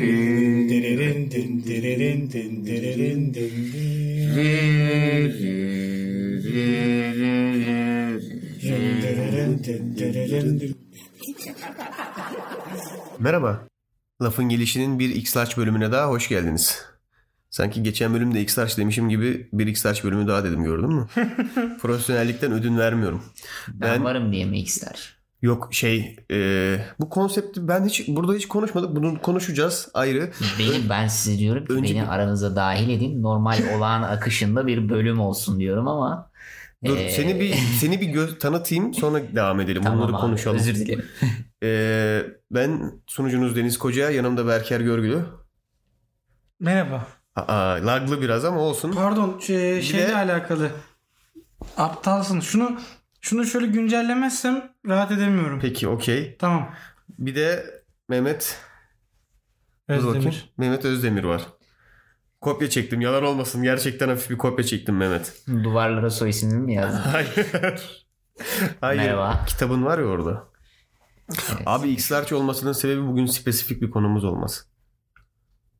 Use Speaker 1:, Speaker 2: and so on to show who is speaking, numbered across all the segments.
Speaker 1: Dererin din dererin din dererin din din. Din dererin din dererin din.
Speaker 2: Merhaba. Lafın gelişinin bir X-Large bölümüne daha hoş geldiniz. Sanki geçen bölümde X-Large demişim gibi bir X-Large bölümü daha dedim gördün mü? Profesyonellikten ödün vermiyorum.
Speaker 3: Ben, varım diye mi ister?
Speaker 2: Yok şey e, bu konsepti ben hiç burada hiç konuşmadık. Bunu konuşacağız ayrı.
Speaker 3: Beni, ben size diyorum ki
Speaker 2: Önce
Speaker 3: beni
Speaker 2: bir-
Speaker 3: aranıza dahil edin. Normal olağan akışında bir bölüm olsun diyorum ama.
Speaker 2: Dur
Speaker 3: Ee,
Speaker 2: seni bir seni bir gö- tanıtayım sonra devam edelim.
Speaker 3: tamam
Speaker 2: Bunları
Speaker 3: abi,
Speaker 2: konuşalım.
Speaker 3: Özür dilerim.
Speaker 2: E, ben sunucunuz Deniz Koca, yanımda Berker Görgülü.
Speaker 4: Merhaba.
Speaker 2: Aa, laglı biraz ama olsun.
Speaker 4: Pardon şey,
Speaker 2: de-
Speaker 4: şeyle alakalı. Aptalsın. Şunu şunu şöyle güncellemezsem rahat edemiyorum.
Speaker 2: Peki okey.
Speaker 4: Tamam.
Speaker 2: Bir de Mehmet Dur bakayım.
Speaker 4: Özdemir.
Speaker 2: Mehmet Özdemir var. Kopya çektim. Yalan olmasın. Gerçekten hafif bir kopya çektim Mehmet.
Speaker 3: Duvarlara soy ismini mi yazdın?
Speaker 2: Hayır. Hayır.
Speaker 3: Merhaba.
Speaker 2: Kitabın var ya orada.
Speaker 3: Evet.
Speaker 2: Abi X-Large olmasının sebebi bugün spesifik bir konumuz olması.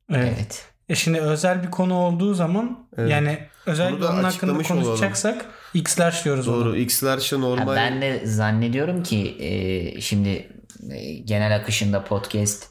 Speaker 4: Evet.
Speaker 3: Evet.
Speaker 4: E şimdi özel bir konu olduğu zaman
Speaker 2: Evet.
Speaker 4: yani özel
Speaker 2: Bunu
Speaker 4: bir
Speaker 2: da
Speaker 4: konu hakkında
Speaker 2: açıklamış olalım.
Speaker 4: konuşacaksak X'ler diyoruz ona.
Speaker 2: Doğru. X-Large'ı
Speaker 3: Ha,
Speaker 2: normal...
Speaker 3: ben de zannediyorum ki e, şimdi e, genel akışında podcast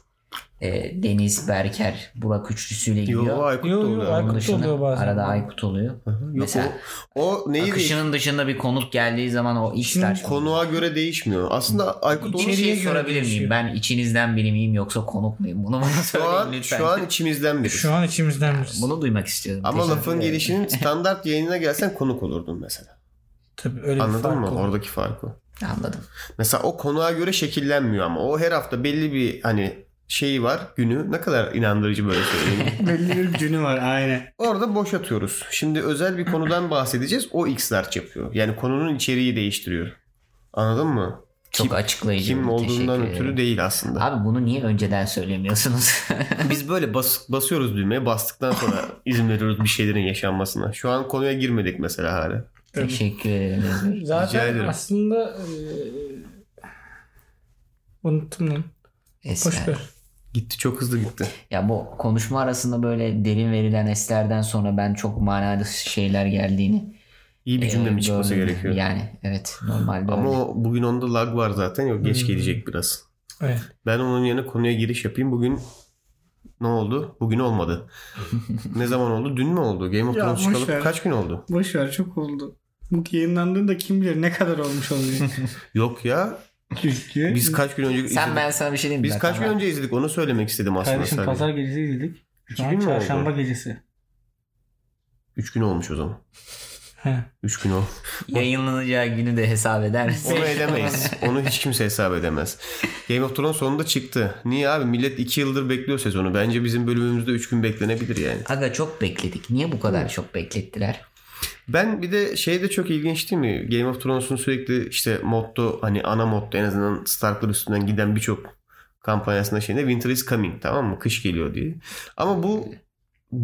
Speaker 3: e, Deniz Berker Burak üçlüsüyle gidiyor.
Speaker 2: Yo, Aykut da
Speaker 4: Yo, yo,
Speaker 2: oluyor.
Speaker 3: Onun
Speaker 4: Aykut da
Speaker 3: dışında
Speaker 4: oluyor bazen.
Speaker 3: Arada Aykut oluyor.
Speaker 2: Hı hı. Yok,
Speaker 3: Mesela-
Speaker 2: o, o neyi değiş-
Speaker 3: Akışının dışında bir konuk geldiği zaman o işler.
Speaker 2: Konuğa göre değişmiyor. Aslında Aykut onu
Speaker 3: Bir
Speaker 4: İçeriye
Speaker 3: şey
Speaker 4: göre
Speaker 3: sorabilir miyim?
Speaker 4: değişiyor.
Speaker 3: Ben içinizden biri miyim yoksa konuk muyum? Bunu bana
Speaker 2: şu
Speaker 3: söyleyin
Speaker 2: an,
Speaker 3: lütfen.
Speaker 2: şu an içimizden biri.
Speaker 4: Şu an içimizden birisi.
Speaker 3: Bunu duymak istiyorum.
Speaker 2: Ama
Speaker 3: Teşekkür
Speaker 2: lafın
Speaker 3: ederim.
Speaker 2: gelişinin standart yayınına gelsen konuk olurdun mesela.
Speaker 4: Tabii öyle bir
Speaker 2: Anladın
Speaker 4: fark
Speaker 2: mı?
Speaker 4: olur.
Speaker 2: Oradaki farkı.
Speaker 3: Anladım.
Speaker 2: Mesela o konuğa göre şekillenmiyor ama o her hafta belli bir hani şeyi var günü ne kadar inandırıcı böyle söyleyeyim.
Speaker 4: Belli bir günü var aynen.
Speaker 2: Orada boş atıyoruz. Şimdi özel bir konudan bahsedeceğiz. O X'ler yapıyor. Yani konunun içeriği değiştiriyor. Anladın mı?
Speaker 3: Çok
Speaker 2: Kim-
Speaker 3: açıklayıcı.
Speaker 2: Kim olduğundan
Speaker 3: Teşekkür
Speaker 2: ötürü
Speaker 3: ederim.
Speaker 2: değil aslında.
Speaker 3: Abi bunu niye önceden söylemiyorsunuz?
Speaker 2: Biz böyle bas, basıyoruz düğmeye. Bastıktan sonra izin veriyoruz bir şeylerin yaşanmasına. Şu an konuya girmedik mesela hala.
Speaker 4: Tabii.
Speaker 3: Teşekkür ederim. Özgür.
Speaker 2: Rica
Speaker 4: Zaten
Speaker 2: ederim.
Speaker 4: aslında e, eee, unuttum lan. Boş
Speaker 3: Esler.
Speaker 4: ver.
Speaker 2: Gitti çok hızlı gitti.
Speaker 3: Ya bu konuşma arasında böyle derin verilen eslerden sonra ben çok manalı şeyler geldiğini
Speaker 2: İyi bir cümle
Speaker 3: e,
Speaker 2: mi çıkması
Speaker 3: gördüm.
Speaker 2: gerekiyor?
Speaker 3: Yani evet normalde
Speaker 2: Ama
Speaker 3: öyle.
Speaker 2: o, bugün onda lag var zaten. Yok geç gelecek biraz.
Speaker 4: Evet.
Speaker 2: Ben onun yerine konuya giriş yapayım. Bugün ne oldu? Bugün olmadı. ne zaman oldu? Dün mü oldu? Game of
Speaker 4: Ya
Speaker 2: Thrones
Speaker 4: boş
Speaker 2: çıkalı
Speaker 4: ver.
Speaker 2: kaç gün oldu?
Speaker 4: Boş ver çok oldu. Bu yayınlandığında kim bilir ne kadar olmuş oluyor.
Speaker 2: Yok ya.
Speaker 4: Çünkü
Speaker 2: Biz kaç gün önce izledik.
Speaker 3: Sen ben sana bir şey diyeyim mi?
Speaker 2: Biz
Speaker 3: Zaten
Speaker 2: kaç gün
Speaker 3: ben-
Speaker 2: önce izledik? Onu söylemek istedim aslında
Speaker 4: kardeşim
Speaker 2: sadece.
Speaker 4: pazar gecesi izledik. Şu
Speaker 2: İki
Speaker 4: an
Speaker 2: gün mü oldu?
Speaker 4: çarşamba gecesi.
Speaker 2: 3 gün olmuş o zaman.
Speaker 4: He.
Speaker 2: 3 gün oldu.
Speaker 3: Yayınlanacağı günü de hesap eder misin?
Speaker 2: Onu edemeyiz. Onu hiç kimse hesap edemez. Game of Thrones sonunda çıktı. Niye abi? Millet 2 yıldır bekliyor sezonu. Bence bizim bölümümüzde 3 gün beklenebilir yani.
Speaker 3: Aga çok bekledik. Niye bu kadar çok beklettiler?
Speaker 2: Ben bir de şey de çok ilginç değil mi? Game of Thrones'un sürekli işte motto hani ana motto en azından Stark'lar üstünden giden birçok kampanyasında şeyinde Winter is coming tamam mı? Kış geliyor diye. Ama bu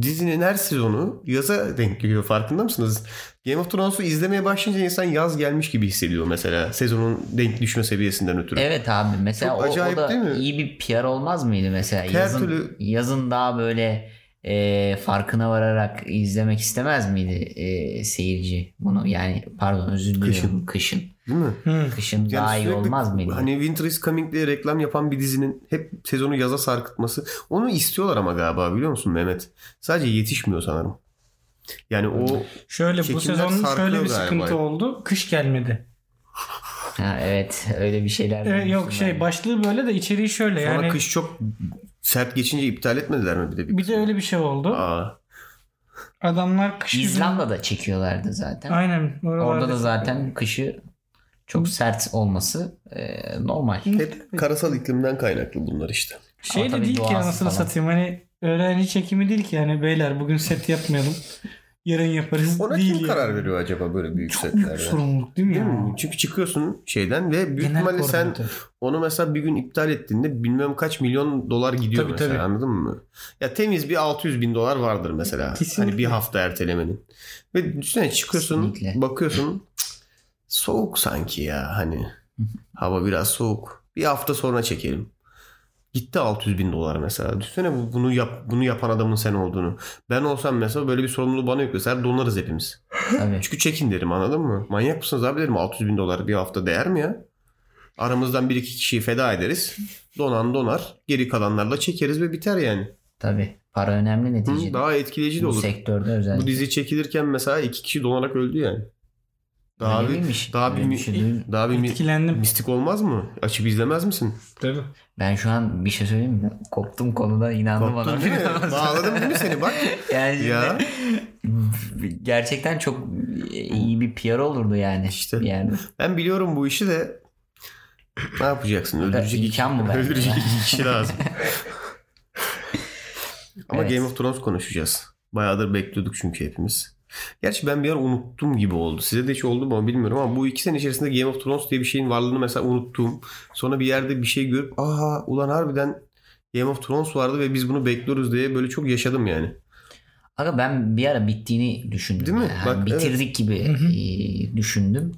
Speaker 2: dizinin her sezonu yaza denk geliyor farkında mısınız? Game of Thrones'u izlemeye başlayınca insan yaz gelmiş gibi hissediyor mesela sezonun denk düşme seviyesinden ötürü.
Speaker 3: Evet abi mesela
Speaker 2: Çok
Speaker 3: o, o
Speaker 2: acayip
Speaker 3: da
Speaker 2: değil mi?
Speaker 3: iyi bir PR olmaz mıydı mesela?
Speaker 2: Her
Speaker 3: yazın,
Speaker 2: türlü-
Speaker 3: yazın daha böyle e, farkına vararak izlemek istemez miydi e, seyirci bunu? Yani pardon özür dilerim
Speaker 2: Kışın.
Speaker 3: kışın. Kışın,
Speaker 2: Değil mi?
Speaker 4: Hı.
Speaker 2: Yani
Speaker 3: daha iyi
Speaker 2: sürekli
Speaker 3: olmaz mıydı?
Speaker 2: Hani Winter is Coming diye reklam yapan bir dizinin hep sezonu yaza sarkıtması. Onu istiyorlar ama galiba biliyor musun Mehmet? Sadece yetişmiyor sanırım. Yani o
Speaker 4: Şöyle
Speaker 2: Çekimler
Speaker 4: bu sezonun
Speaker 2: sarkıyor
Speaker 4: şöyle bir
Speaker 2: galiba.
Speaker 4: sıkıntı oldu. Kış gelmedi.
Speaker 3: Ha, evet öyle bir şeyler.
Speaker 4: Evet,
Speaker 3: duymuştum
Speaker 4: yok şey
Speaker 3: ben.
Speaker 4: başlığı böyle de içeriği şöyle
Speaker 2: sonra
Speaker 4: yani.
Speaker 2: kış çok sert geçince iptal etmediler mi bir de?
Speaker 4: Bir de öyle bir şey oldu.
Speaker 2: Aa,
Speaker 4: Adamlar kış yüzünden-
Speaker 3: İzlanda'da çekiyorlardı zaten.
Speaker 4: Aynen.
Speaker 3: Orada da zaten kışı çok sert olması e, normal.
Speaker 2: hep karasal iklimden kaynaklı bunlar işte.
Speaker 4: şey
Speaker 3: Ama
Speaker 4: de
Speaker 3: tabii
Speaker 4: değil ki
Speaker 3: doğası
Speaker 4: anasını
Speaker 3: falan.
Speaker 4: satayım hani öğrenci çekimi değil ki yani beyler bugün set yapmayalım. Yarın yaparız.
Speaker 2: Ona
Speaker 4: değil
Speaker 2: kim
Speaker 4: yani.
Speaker 2: karar veriyor acaba böyle büyük
Speaker 4: Çok büyük
Speaker 2: setlerde?
Speaker 4: sorumluluk değil mi
Speaker 2: Değil
Speaker 4: ya?
Speaker 2: mi? Çünkü çıkıyorsun şeyden ve büyük
Speaker 4: Genel
Speaker 2: ihtimalle sen
Speaker 4: koordinatör.
Speaker 2: Onu mesela bir gün iptal ettiğinde bilmem kaç milyon dolar gidiyor
Speaker 4: Tabii,
Speaker 2: mesela
Speaker 4: tabii.
Speaker 2: anladın mı? Ya temiz bir 600 bin dolar vardır mesela.
Speaker 4: Kesinlikle.
Speaker 2: Hani bir hafta ertelemenin. Ve düşünsene çıkıyorsun
Speaker 3: Kesinlikle.
Speaker 2: bakıyorsun cık, soğuk sanki ya hani. Hava biraz soğuk. Bir hafta sonra çekelim. Gitti 600 bin dolar mesela. Düşünsene bu- bunu yap, bunu yapan adamın sen olduğunu. Ben olsam mesela böyle bir sorumluluğu bana yükleseler donarız hepimiz.
Speaker 3: Tabii.
Speaker 2: Çünkü çekin derim anladın mı? Manyak mısınız abi derim 600 bin dolar bir hafta değer mi ya? Aramızdan bir iki kişiyi feda ederiz. Donan donar. Geri kalanlarla çekeriz ve biter yani.
Speaker 3: Tabii. Para önemli
Speaker 2: Hı,
Speaker 3: neticede.
Speaker 2: daha etkileyici de
Speaker 3: Bu
Speaker 2: olur.
Speaker 3: sektörde özellikle.
Speaker 2: Bu dizi çekilirken mesela iki kişi donarak öldü yani. Daha
Speaker 3: Öyle
Speaker 2: bir,
Speaker 3: miymiş?
Speaker 2: daha
Speaker 3: Öyle
Speaker 2: bir,
Speaker 3: bir
Speaker 2: mi-
Speaker 3: şey duydum.
Speaker 2: daha bir mi-
Speaker 4: Etkilendim.
Speaker 2: mistik olmaz mı? Açıp izlemez misin?
Speaker 4: Tabii.
Speaker 3: Ben şu an bir şey söyleyeyim mi? Koptum konuda inandı
Speaker 2: Korktun
Speaker 3: bana.
Speaker 2: değil mi? Bağladım değil mi seni bak?
Speaker 3: yani şimdi-
Speaker 2: Ya.
Speaker 3: gerçekten çok iyi bir PR olurdu yani.
Speaker 2: İşte.
Speaker 3: Yani
Speaker 2: Ben biliyorum bu işi de ne yapacaksın? Öldürecek iki-
Speaker 3: İmkan mı var?
Speaker 2: Öldürecek iki kişi lazım. Ama
Speaker 3: Evet.
Speaker 2: Game of Thrones konuşacağız. Bayağıdır bekliyorduk çünkü hepimiz. Gerçi ben bir ara unuttum gibi oldu. Size de hiç oldu mu bilmiyorum ama bu iki sene içerisinde Game of Thrones diye bir şeyin varlığını mesela unuttum. Sonra bir yerde bir şey görüp aha ulan harbiden Game of Thrones vardı ve biz bunu bekliyoruz diye böyle çok yaşadım yani.
Speaker 3: Aga ben bir ara bittiğini düşündüm.
Speaker 2: Değil mi?
Speaker 3: Yani
Speaker 2: Bak,
Speaker 3: bitirdik gibi e, düşündüm.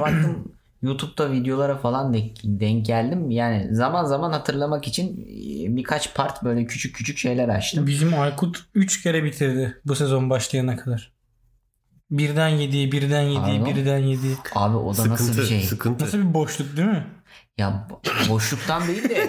Speaker 3: baktım YouTube'da videolara falan denk, denk geldim. Yani zaman zaman hatırlamak için e, birkaç part böyle küçük küçük şeyler açtım.
Speaker 4: Bizim Aykut 3 kere bitirdi bu sezon başlayana kadar. Birden yediği, birden yediği,
Speaker 3: Pardon?
Speaker 4: birden yediği.
Speaker 3: Abi o da nasıl bir
Speaker 2: sıkıntı,
Speaker 3: şey?
Speaker 2: sıkıntı.
Speaker 4: Nasıl bir boşluk değil mi?
Speaker 3: Ya bo- boşluktan değil de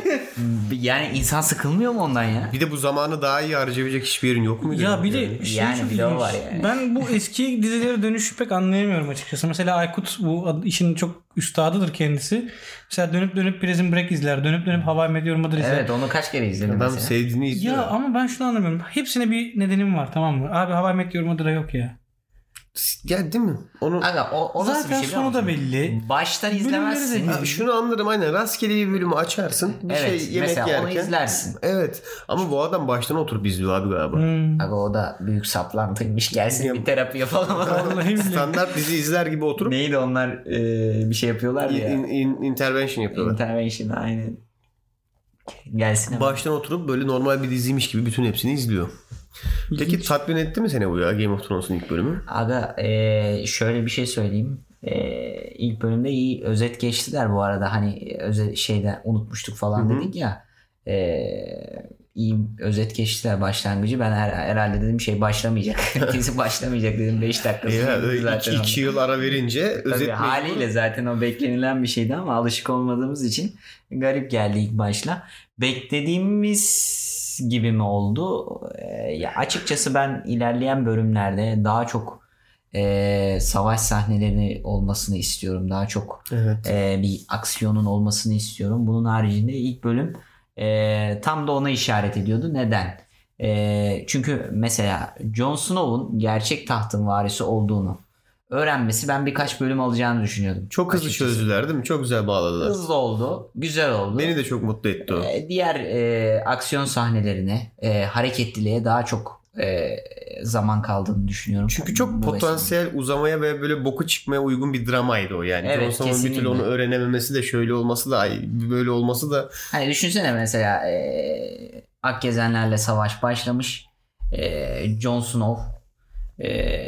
Speaker 3: yani insan sıkılmıyor mu ondan ya?
Speaker 2: Bir de bu zamanı daha iyi harcayabilecek hiçbir yerin yok muydu?
Speaker 4: Ya bir de
Speaker 2: Yani?
Speaker 4: şey
Speaker 3: Yani
Speaker 4: çok
Speaker 3: bir de o
Speaker 4: ilginç.
Speaker 3: var yani.
Speaker 4: Ben bu eski dizilere dönüşü pek anlayamıyorum açıkçası. Mesela Aykut bu ad- işin çok üstadıdır kendisi. Mesela dönüp dönüp Prison Break izler. Dönüp dönüp Hava Meteor Mother izler.
Speaker 3: Evet onu kaç kere izledim
Speaker 2: adam
Speaker 4: şey-
Speaker 3: mesela.
Speaker 2: sevdiğini izliyor.
Speaker 4: Ya ama ben şunu anlamıyorum. Hepsine bir nedenim var tamam mı? Abi Hava Meteor Mother'a yok ya.
Speaker 2: Ya değil mi? Onu
Speaker 3: Aga o, o nasıl bir
Speaker 4: Zaten
Speaker 3: şey biliyor
Speaker 4: sonu da
Speaker 3: musun?
Speaker 4: belli.
Speaker 3: Baştan
Speaker 4: Bölümleri de
Speaker 3: izlemezsin.
Speaker 4: belli.
Speaker 2: Ha, şunu anlarım aynen. Rastgele bir bölümü açarsın. Bir
Speaker 3: Evet,
Speaker 2: şey yemek
Speaker 3: mesela onu
Speaker 2: yerken.
Speaker 3: izlersin.
Speaker 2: Evet. Ama bu adam baştan oturup izliyor abi galiba.
Speaker 4: Hmm.
Speaker 3: Aga o da büyük saplantıymış. Gelsin
Speaker 2: Ya-
Speaker 3: bir terapi yapalım.
Speaker 4: Vallahi billahi.
Speaker 2: Standart dizi izler gibi oturup
Speaker 3: Neydi onlar e, bir şey yapıyorlar ya.
Speaker 2: in- in- intervention yapıyorlar.
Speaker 3: Intervention aynen. Gelsin hemen.
Speaker 2: baştan oturup böyle normal bir diziymiş gibi bütün hepsini izliyor. Peki tatmin etti mi seni bu ya Game of Thrones'un ilk bölümü?
Speaker 3: Aga e, şöyle bir şey söyleyeyim. E, ilk bölümde iyi özet geçtiler bu arada. Hani özet şeyden unutmuştuk falan
Speaker 2: Hı hı.
Speaker 3: dedik ya. E, iyi özet geçtiler başlangıcı. Ben her, herhalde dedim şey başlamayacak. Kesin başlamayacak dedim 5 dakika.
Speaker 2: Ya,
Speaker 3: sürdü zaten ama.
Speaker 2: 2 yıl ara verince özet
Speaker 3: Tabii haliyle zaten o beklenilen bir şeydi ama alışık olmadığımız için garip geldi ilk başla. Beklediğimiz gibi mi oldu? Ee, ya açıkçası ben ilerleyen bölümlerde daha çok e, savaş sahneleri olmasını istiyorum. Daha çok
Speaker 2: Evet.
Speaker 3: e, bir aksiyonun olmasını istiyorum. Bunun haricinde ilk bölüm e, tam da ona işaret ediyordu. Neden? E, çünkü mesela Jon Snow'un gerçek tahtın varisi olduğunu öğrenmesi ben birkaç bölüm alacağını düşünüyordum.
Speaker 2: Çok hızlı
Speaker 3: Açıkçası.
Speaker 2: çözdüler değil mi? Çok güzel bağladılar.
Speaker 3: Hızlı oldu. Güzel oldu.
Speaker 2: Beni de çok mutlu etti o.
Speaker 3: E, diğer e, aksiyon sahnelerine, e, hareketliliğe daha çok e, zaman kaldığını düşünüyorum.
Speaker 2: Çünkü çok
Speaker 3: Bu
Speaker 2: potansiyel uzamaya ve böyle boku çıkmaya uygun bir dramaydı o yani.
Speaker 3: Evet,
Speaker 2: Jon Snow'un bir türlü
Speaker 3: kesinlikle.
Speaker 2: onu öğrenememesi de şöyle olması da böyle olması da
Speaker 3: Hani düşünsene mesela e, Akgezenlerle savaş başlamış. E, Jon Snow e,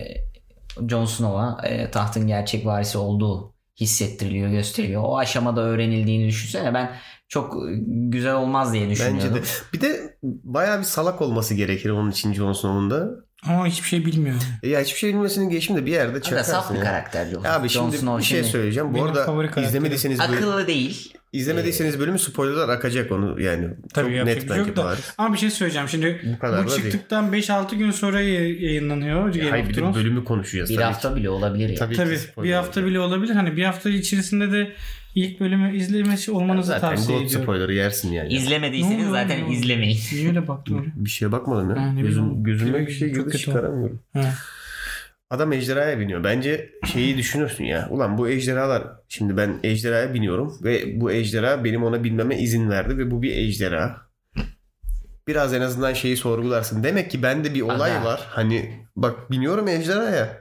Speaker 3: Jon Snow'a e, tahtın gerçek varisi olduğu hissettiriliyor, gösteriliyor. O aşamada öğrenildiğini düşünsene. Ben çok e, güzel olmaz diye düşünüyordum.
Speaker 2: Bence de. Bir de bayağı bir salak olması gerekir onun için Jon Snow'un da.
Speaker 4: Ama hiçbir şey bilmiyor.
Speaker 2: E Ya hiçbir şey bilmesinin geçim de bir yerde
Speaker 3: Aga saf
Speaker 2: çakarsın.
Speaker 3: bir
Speaker 2: ya.
Speaker 3: karakter Jon,
Speaker 2: Abi
Speaker 3: Jon
Speaker 2: şimdi
Speaker 3: Snow.
Speaker 2: bir şey
Speaker 3: şimdi
Speaker 2: söyleyeceğim. Bu
Speaker 4: Benim favori
Speaker 2: arada
Speaker 4: karakterim.
Speaker 2: izlemediyseniz bölüm,
Speaker 3: Akıllı Ee, değil.
Speaker 2: izlemediyseniz bölümü spoilerlar akacak onu yani.
Speaker 4: Tabii
Speaker 2: çok
Speaker 4: yapacak
Speaker 2: net
Speaker 4: bir şey
Speaker 2: bence
Speaker 4: yok da.
Speaker 2: bari.
Speaker 4: Ama bir şey söyleyeceğim. Şimdi
Speaker 2: Bu kadar
Speaker 4: bu
Speaker 2: da değil.
Speaker 4: çıktıktan 5-6 gün sonra yay- yayınlanıyor Game
Speaker 2: Hayır
Speaker 4: of
Speaker 2: bir de
Speaker 4: Thrones.
Speaker 2: bölümü konuşacağız.
Speaker 3: Bir
Speaker 2: tabii ki.
Speaker 3: hafta bile olabilir ya.
Speaker 2: Tabii, ki
Speaker 4: Tabii
Speaker 2: spoiler
Speaker 4: bir hafta
Speaker 2: olacak.
Speaker 4: bile olabilir. Hani bir hafta içerisinde de ilk bölümü izlemesi olmanızı
Speaker 2: Zaten
Speaker 4: tavsiye
Speaker 2: God
Speaker 4: ediyorum.
Speaker 2: spoiler'ı yersin yani.
Speaker 4: Ne
Speaker 2: Hmm.
Speaker 3: İzlemediyseniz
Speaker 4: oluyor
Speaker 3: zaten
Speaker 4: oğlum?
Speaker 3: izlemeyin.
Speaker 4: Niye öyle baktın oraya?
Speaker 2: Bir şeye bakmadım
Speaker 4: Ha,
Speaker 2: ya.
Speaker 4: ne
Speaker 2: Gözüm,
Speaker 4: bileyim.
Speaker 2: gözüme
Speaker 4: Çok
Speaker 2: bir şey
Speaker 4: kötü
Speaker 2: girdi
Speaker 4: oldu.
Speaker 2: çıkaramıyorum.
Speaker 4: Ha.
Speaker 2: Adam ejderhaya biniyor. Bence şeyi düşünürsün ya. Ulan bu ejderhalar şimdi ben ejderhaya biniyorum ve bu ejderha benim ona binmeme izin verdi ve bu bir ejderha. Biraz en azından şeyi sorgularsın. Demek ki bende bir olay
Speaker 3: Aga.
Speaker 2: var. Hani bak biniyorum ejderhaya.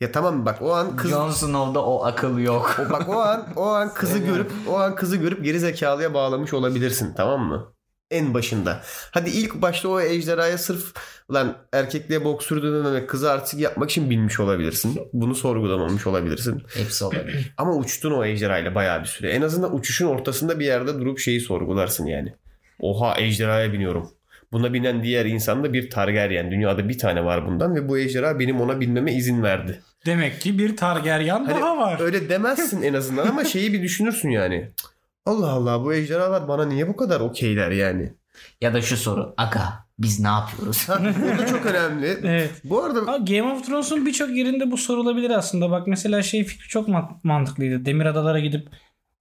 Speaker 2: Ya tamam bak o an kız
Speaker 3: Jon Snow'da o akıl yok.
Speaker 2: o bak o an o an kızı görüp o an kızı görüp geri zekalıya bağlamış olabilirsin tamam mı? en başında. Hadi ilk başta o ejderhaya sırf lan erkekliğe bok sürdürmemek, kızı artık yapmak için binmiş olabilirsin. Bunu sorgulamamış olabilirsin.
Speaker 3: Hepsi olabilir.
Speaker 2: Ama uçtun o ejderhayla bayağı bir süre. En azından uçuşun ortasında bir yerde durup şeyi sorgularsın yani. Oha ejderhaya biniyorum. Buna binen diğer insan da bir Targaryen. Dünyada bir tane var bundan ve bu ejderha benim ona binmeme izin verdi.
Speaker 4: Demek ki bir Targaryen
Speaker 2: Hani
Speaker 4: daha var.
Speaker 2: Öyle demezsin en azından ama şeyi bir düşünürsün yani. Cık, Allah Allah bu ejderhalar bana niye bu kadar okeyler yani?
Speaker 3: ya da şu soru. Aga biz ne yapıyoruz?
Speaker 2: Ha, bu da çok önemli.
Speaker 4: Evet.
Speaker 2: Bu arada
Speaker 4: Ha, Game of Thrones'un birçok yerinde bu sorulabilir aslında. Bak mesela şey fikri çok ma- mantıklıydı. Demir adalara gidip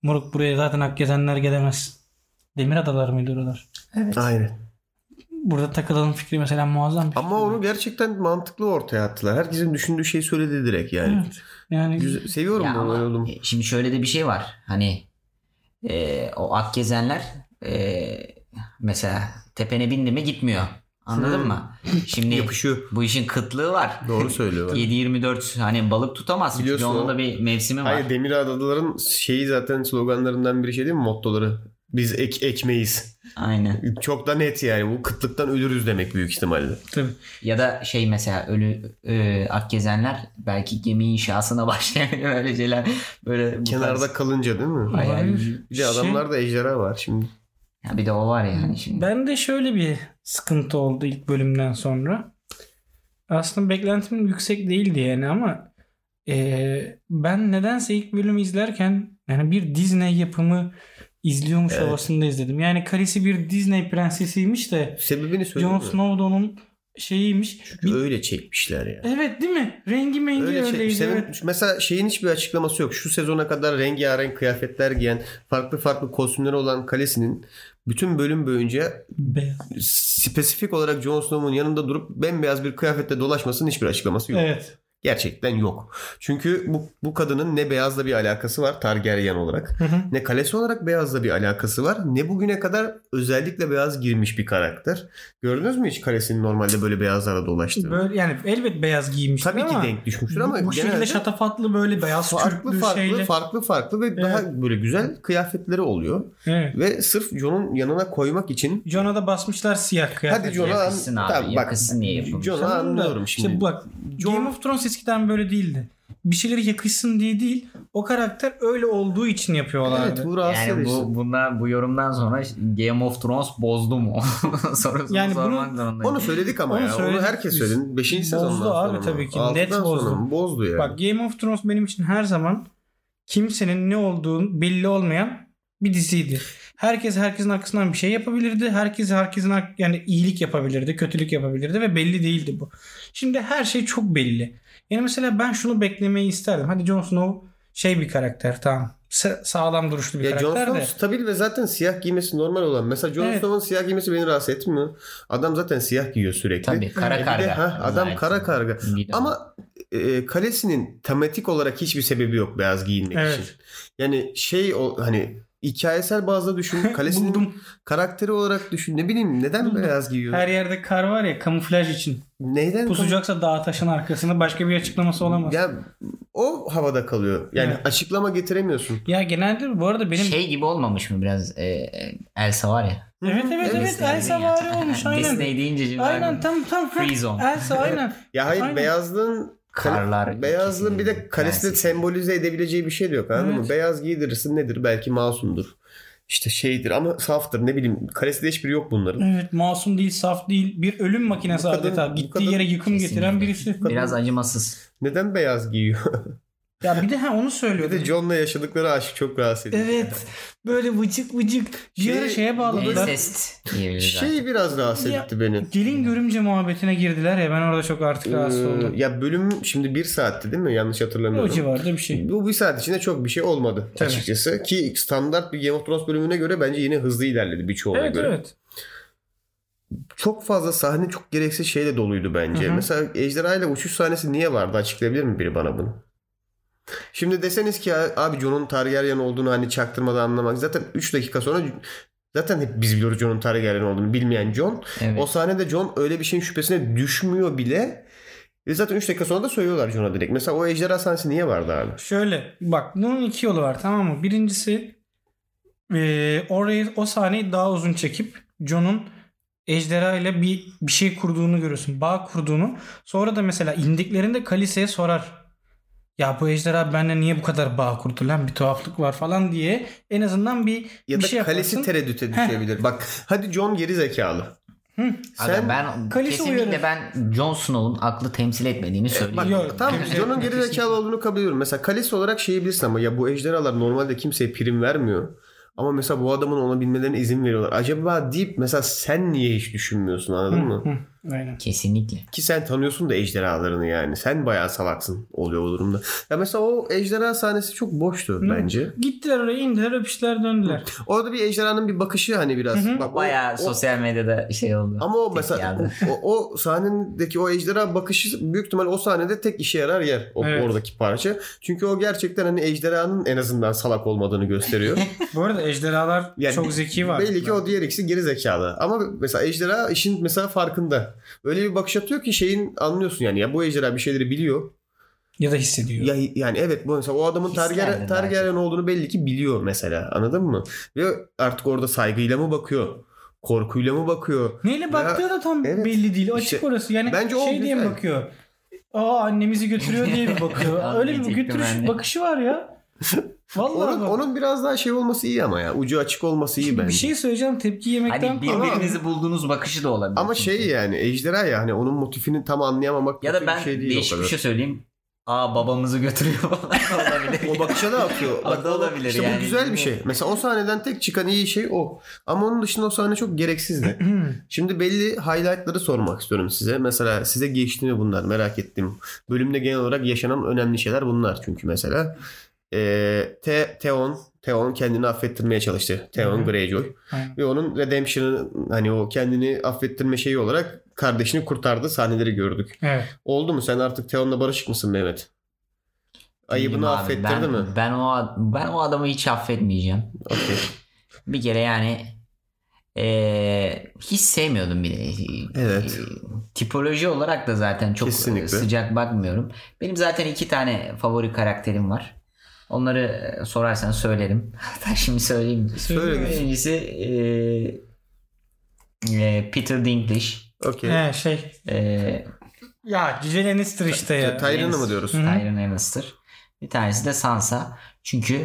Speaker 4: moruk buraya zaten hak gezenler gelemez. Demir adalar mıydı oralar?
Speaker 2: aynen.
Speaker 4: Burada takılalım fikri mesela muazzam bir
Speaker 2: Ama onu gerçekten mantıklı ortaya attılar. Herkesin düşündüğü şeyi söyledi direkt yani.
Speaker 4: yani
Speaker 2: Güzel- seviyorum
Speaker 3: Ya
Speaker 2: ben
Speaker 3: ama
Speaker 2: böyle oğlum.
Speaker 3: Şimdi şöyle de bir şey var. Hani e, o Akgezenler e, mesela tepene bindi mi gitmiyor. Anladın
Speaker 2: Hmm.
Speaker 3: mı? Şimdi
Speaker 2: Yapışıyor.
Speaker 3: bu işin kıtlığı var.
Speaker 2: Doğru söylüyor.
Speaker 3: 7-24 hani balık tutamaz. Biliyorsun
Speaker 2: Biliyorsun
Speaker 3: onun
Speaker 2: o-
Speaker 3: da bir mevsimi var.
Speaker 2: Hayır Demir Adaların şeyi zaten sloganlarından biri şey değil mi? Mottoları. Biz ek ekmeyiz.
Speaker 3: Aynen.
Speaker 2: Çok da net yani. Bu kıtlıktan ölürüz demek büyük ihtimalle.
Speaker 4: Tabii.
Speaker 3: Ya da şey mesela ölü e, Akgezenler belki gemi inşasına başlayabilir öyle şeyler. Böyle bu
Speaker 2: Kenarda
Speaker 3: tarz- Şey-
Speaker 2: kalınca değil mi?
Speaker 3: Hayal
Speaker 4: Olabilir.
Speaker 3: gücü.
Speaker 2: Bir de adamlarda ejderha var şimdi.
Speaker 3: Ya bir de o var yani şimdi.
Speaker 4: Ben de şöyle bir sıkıntı oldu ilk bölümden sonra. Aslında beklentim yüksek değildi yani ama eee, ben nedense ilk bölümü izlerken yani bir Disney yapımı izliyormuş
Speaker 2: Evet.
Speaker 4: havasında izledim. Yani karısı bir Disney prensesiymiş de
Speaker 2: Sebebini söyleyeyim
Speaker 4: Jon
Speaker 2: mi?
Speaker 4: Snow da onun şeyiymiş. Bir-
Speaker 2: Öyle çekmişler ya.
Speaker 4: Evet değil mi? Rengi mengi
Speaker 2: Öyle şey,
Speaker 4: öyleydi.
Speaker 2: senin-
Speaker 4: evet.
Speaker 2: Mesela şeyin hiçbir açıklaması yok. Şu sezona kadar rengarenk kıyafetler giyen, farklı farklı kostümleri olan kalesinin bütün bölüm boyunca
Speaker 4: Beyaz.
Speaker 2: spesifik olarak Jon Snow'un yanında durup bembeyaz bir kıyafetle dolaşmasının hiçbir açıklaması yok.
Speaker 4: Evet.
Speaker 2: Gerçekten yok. Çünkü bu, bu kadının ne beyazla bir alakası var Targaryen olarak.
Speaker 4: Hı hı.
Speaker 2: Ne kalesi olarak beyazla bir alakası var ne bugüne kadar özellikle beyaz girmiş bir karakter. Gördünüz mü hiç kalesinin normalde böyle beyazlara dolaştığını?
Speaker 4: Böyle yani elbet beyaz giymiştir
Speaker 2: Tabii ki
Speaker 4: ama
Speaker 2: denk düşmüştür
Speaker 4: bu-
Speaker 2: ama
Speaker 4: bu şekilde
Speaker 2: genelde-
Speaker 4: şatafatlı böyle beyaz
Speaker 2: farklı
Speaker 4: kürklü
Speaker 2: farklı
Speaker 4: şeyle.
Speaker 2: farklı farklı ve daha böyle güzel kıyafetleri oluyor
Speaker 4: Evet.
Speaker 2: ve sırf Jon'un yanına koymak için
Speaker 4: Jon'a da basmışlar siyah kıyafet.
Speaker 2: hadi Jon'a an-
Speaker 3: yakışsın abi, yakışsın diye yapılmış.
Speaker 2: Jon'a
Speaker 4: Tamam da,
Speaker 2: anlıyorum şimdi.
Speaker 4: işte bak Game of Thrones eskiden böyle değildi. Bir şeyleri yakışsın diye değil. O karakter öyle olduğu için yapıyorlardı.
Speaker 2: evet bu rahatsız
Speaker 3: Yani
Speaker 2: edici.
Speaker 3: bu bundan bu yorumdan sonra Game of Thrones bozdu mu? Sorusunu
Speaker 4: Yani bunu-
Speaker 3: sormak zorundayım.
Speaker 2: Onu söyledik ama
Speaker 4: Onu
Speaker 2: ya.
Speaker 4: söyledik
Speaker 2: onu herkes
Speaker 4: biz.
Speaker 2: söyledi. 5.
Speaker 4: Bozdu
Speaker 2: sezondan sonra.
Speaker 4: abi
Speaker 2: mı?
Speaker 4: tabii ki.
Speaker 2: Altıdan
Speaker 4: Net
Speaker 2: sonra
Speaker 4: bozdu.
Speaker 2: mı? Bozdu yani.
Speaker 4: Bak Game of Thrones benim için her zaman kimsenin ne olduğu belli olmayan bir diziydi. Herkes herkesin arkasından bir şey yapabilirdi. Herkes herkesin ar- yani iyilik yapabilirdi, kötülük yapabilirdi ve belli değildi bu. Şimdi her şey çok belli. Yani mesela ben şunu beklemeyi isterdim. Hadi Jon Snow şey bir karakter tamam. Sa- sağlam duruşlu bir
Speaker 2: ya Jon
Speaker 4: karakter
Speaker 2: Snow
Speaker 4: de.
Speaker 2: stabil ve zaten siyah giymesi normal olan. Mesela Jon
Speaker 4: Evet.
Speaker 2: Snow'un siyah giymesi beni rahatsız etmiyor. Adam zaten siyah giyiyor sürekli.
Speaker 3: Tabii kara
Speaker 2: E bir de-
Speaker 3: karga.
Speaker 2: ha, adam
Speaker 3: Zaten.
Speaker 2: kara karga.
Speaker 3: Bir de-
Speaker 2: Ama e, kalesinin tematik olarak hiçbir sebebi yok beyaz giyinmek
Speaker 4: Evet.
Speaker 2: için. Yani şey o hani hikayesel bazda düşün. Kalesinin
Speaker 4: Buldum.
Speaker 2: karakteri olarak düşün. Ne bileyim neden
Speaker 4: Buldum.
Speaker 2: beyaz giyiyor?
Speaker 4: Her yerde kar var ya kamuflaj için.
Speaker 2: Neyden?
Speaker 4: Pusacaksa dağa taşın arkasında başka bir açıklaması olamaz. Ya,
Speaker 2: Ya o havada kalıyor. Yani
Speaker 4: Evet.
Speaker 2: açıklama getiremiyorsun.
Speaker 4: genelde bu arada benim
Speaker 3: şey gibi olmamış mı biraz e, e, Elsa var ya.
Speaker 4: Evet evet evet
Speaker 3: Disney
Speaker 4: Elsa
Speaker 3: dedin ya.
Speaker 4: var olmuş aynen.
Speaker 3: Disney deyince şimdi
Speaker 4: Aynen
Speaker 3: aynen.
Speaker 4: tam tam tam.
Speaker 3: Free zone.
Speaker 4: Elsa aynen.
Speaker 2: Ya hayır
Speaker 4: Aynen.
Speaker 2: beyazlığın kale-
Speaker 3: Karlar
Speaker 2: beyazlığın bir de
Speaker 3: ülkesinin
Speaker 2: kalesini
Speaker 3: prensesi.
Speaker 2: sembolize edebileceği bir şey de yok anladın
Speaker 4: Evet.
Speaker 2: mı? Beyaz giydirirsin nedir? Belki masumdur. İşte şeydir ama saftır ne bileyim. Kalesinde hiçbir yok bunların.
Speaker 4: Evet masum değil saf değil bir ölüm makinesi
Speaker 2: Bu kadın-
Speaker 4: adeta.
Speaker 2: bu
Speaker 4: Gittiği
Speaker 2: kadın-
Speaker 4: yere yıkım
Speaker 3: Kesinlikle.
Speaker 4: getiren birisi.
Speaker 3: Biraz acımasız.
Speaker 2: Neden beyaz giyiyor?
Speaker 4: Ya bir de ha onu
Speaker 2: Bir
Speaker 4: söylüyordu.
Speaker 2: de John'la yaşadıkları aşk çok rahatsız edici.
Speaker 4: Evet böyle vıcık vıcık. Bir
Speaker 2: Şey-
Speaker 4: ara şeye bağladılar.
Speaker 3: Ensest diyebiliriz artık.
Speaker 2: Şey biraz rahatsız
Speaker 4: Ya-
Speaker 2: etti beni.
Speaker 4: Gelin görümce muhabbetine girdiler ya ben orada çok artık rahatsız
Speaker 2: Ee,
Speaker 4: oldum.
Speaker 2: ya bölüm şimdi bir saatti değil mi? Yanlış
Speaker 4: O
Speaker 2: hatırlamıyorum.
Speaker 4: civarda bir şey.
Speaker 2: Bu bir saat içinde çok bir şey olmadı
Speaker 4: Tabii.
Speaker 2: açıkçası. Ki standart bir Game of Thrones bölümüne göre bence yine hızlı ilerledi birçoğuna
Speaker 4: Evet
Speaker 2: göre.
Speaker 4: evet.
Speaker 2: Çok fazla sahne çok gereksiz şeyle doluydu bence.
Speaker 4: Hı hı.
Speaker 2: Mesela Ejderha ile uçuş sahnesi niye vardı? Açıklayabilir mi biri bana bunu? Şimdi deseniz ki "Ya abi Jon'un Targaryen olduğunu hani çaktırmadan anlamak. Zaten 3 dakika sonra zaten hep biz biliyoruz Jon'un Targaryen olduğunu. Bilmeyen Jon
Speaker 3: Evet.
Speaker 2: Şey, o sahnede John öyle bir şeyin şüphesine düşmüyor bile. Ve zaten 3 dakika sonra da söylüyorlar John'a direkt. Mesela o ejderha sahnesi niye vardı abi?
Speaker 4: Şöyle bak bunun iki e, yolu var tamam mı? Birincisi eee orayı o sahneyi daha uzun çekip Jon'un ejderha ile bir bir şey kurduğunu görürsün. Bağ kurduğunu. Sonra da mesela indiklerinde Kalise'ye sorar. Ya bu ejderha benimle niye bu kadar bağ kurdu lan bir tuhaflık var falan diye en azından bir
Speaker 2: Ya
Speaker 4: bir
Speaker 2: da
Speaker 4: şey
Speaker 2: kalesi
Speaker 4: yaparsın.
Speaker 2: tereddüte düşebilir. Bak hadi John geri zekalı.
Speaker 3: Aga ben
Speaker 4: Kalesi
Speaker 3: kesinlikle
Speaker 4: uyarır.
Speaker 3: ben Jon Snow'un aklı temsil etmediğini
Speaker 2: E, Bak,
Speaker 3: söylüyorum.
Speaker 4: Yok,
Speaker 2: tamam
Speaker 4: temsil
Speaker 2: John'un
Speaker 4: etmek
Speaker 2: geri zekalı olduğunu kabul ediyorum. Mesela kalesi olarak şeyi bilirsin ama ya bu ejderhalar normalde kimseye prim vermiyor. Ama mesela bu adamın ona binmelerine izin veriyorlar. Acaba deyip mesela sen niye hiç düşünmüyorsun anladın mı?
Speaker 4: Hı, aynen.
Speaker 3: Kesinlikle.
Speaker 2: Ki sen tanıyorsun da ejderhalarını yani. Sen bayağı salaksın oluyor o durumda. Ya mesela o ejderha sahnesi çok boştu bence.
Speaker 4: Gittiler oraya indiler öpüştüler döndüler.
Speaker 2: Orada bir ejderhanın bir bakışı hani biraz. Bak, o-
Speaker 3: Bayağı
Speaker 2: o-
Speaker 3: sosyal medyada şey oldu.
Speaker 2: Ama o
Speaker 3: Tepki
Speaker 2: mesela
Speaker 3: aldı.
Speaker 2: o, o sahnedeki o ejderha bakışı büyük ihtimal o sahnede tek işe yarar yer o,
Speaker 4: Evet.
Speaker 2: oradaki parça. Çünkü o gerçekten hani ejderhanın en azından salak olmadığını gösteriyor.
Speaker 4: Bu arada ejderhalar
Speaker 2: Yani
Speaker 4: çok zeki var.
Speaker 2: Belli ki o diğer ikisi geri zekalı. Ama mesela ejderha işin mesela farkında. Öyle bir bakış atıyor ki şeyin anlıyorsun yani ya bu ejderha bir şeyleri biliyor.
Speaker 4: Ya da hissediyor.
Speaker 2: Ya yani evet bu mesela o adamın
Speaker 3: Hisler
Speaker 2: Targaryen,
Speaker 3: mi
Speaker 2: Targaryen
Speaker 3: belki?
Speaker 2: olduğunu belli ki biliyor mesela. Anladın mı? Ve artık orada saygıyla mı bakıyor? Korkuyla mı bakıyor?
Speaker 4: Neyle baktığı da tam
Speaker 2: evet.
Speaker 4: belli değil. Açık
Speaker 2: İşte
Speaker 4: orası. Yani
Speaker 2: bence o
Speaker 4: şey diye mi
Speaker 2: güzel.
Speaker 4: bakıyor? Aa annemizi götürüyor diye mi bakıyor? Öyle bir
Speaker 3: Anlayacaktım
Speaker 4: götürüş
Speaker 3: ben de.
Speaker 4: bakışı var ya. Vallahi
Speaker 2: Onun,
Speaker 4: bak.
Speaker 2: onun biraz daha şey olması iyi ama ya. Ucu açık olması iyi
Speaker 4: Şimdi
Speaker 2: bence.
Speaker 4: bir şey söyleyeceğim tepki yemekten
Speaker 3: Hani birbirinizi bulduğunuz bakışı da olabilir.
Speaker 2: Ama
Speaker 3: çünkü.
Speaker 2: şey yani ejderha ya hani onun motifini tam anlayamamak
Speaker 3: ya da
Speaker 2: kötü
Speaker 3: ben
Speaker 2: bir şey değil o
Speaker 3: değişik bir
Speaker 2: kadar.
Speaker 3: şey söyleyeyim. Aa babamızı götürüyor falan olabilir.
Speaker 2: O bakışa da atıyor.
Speaker 3: O da
Speaker 2: o-
Speaker 3: olabilir
Speaker 2: işte
Speaker 3: yani.
Speaker 2: bu güzel bir şey. Mesela o sahneden tek çıkan iyi şey o. Ama onun dışında o sahne çok gereksizdi. Şimdi belli highlightları sormak istiyorum size. Mesela size geçti mi bunlar merak ettim. Bölümde genel olarak yaşanan önemli şeyler bunlar çünkü mesela. Ee, Te- Theon Theon kendini affettirmeye çalıştı. Theon Greyjoy.
Speaker 4: Aynen.
Speaker 2: Ve onun redemption'ı hani o kendini affettirme şeyi olarak kardeşini kurtardı sahneleri gördük.
Speaker 4: Evet.
Speaker 2: Oldu mu? Sen artık Teon'la barışık mısın Mehmet?
Speaker 3: Bilmiyorum
Speaker 2: Ayıbını
Speaker 3: abi,
Speaker 2: affettirdi
Speaker 3: ben,
Speaker 2: mi?
Speaker 3: Ben o, ad- ben o adamı hiç affetmeyeceğim.
Speaker 2: Okey.
Speaker 3: Bir kere yani eee, hiç sevmiyordum bile.
Speaker 2: Evet.
Speaker 3: Eee, tipoloji olarak da zaten çok
Speaker 2: Kesinlikle.
Speaker 3: sıcak bakmıyorum. Benim zaten iki tane favori karakterim var. Onları eee, sorarsan söylerim. Hatta şimdi söyleyeyim.
Speaker 2: Söyle.
Speaker 3: Birincisi eee, eee, Peter Dinklage. E,
Speaker 2: Okey.
Speaker 4: He, şey.
Speaker 3: Eee
Speaker 4: Ya Cücel Enister işte ya.
Speaker 2: Tyrion'u mu diyoruz?
Speaker 4: Hı.
Speaker 3: Tyrion Lannister. Bir tanesi de Sansa. Çünkü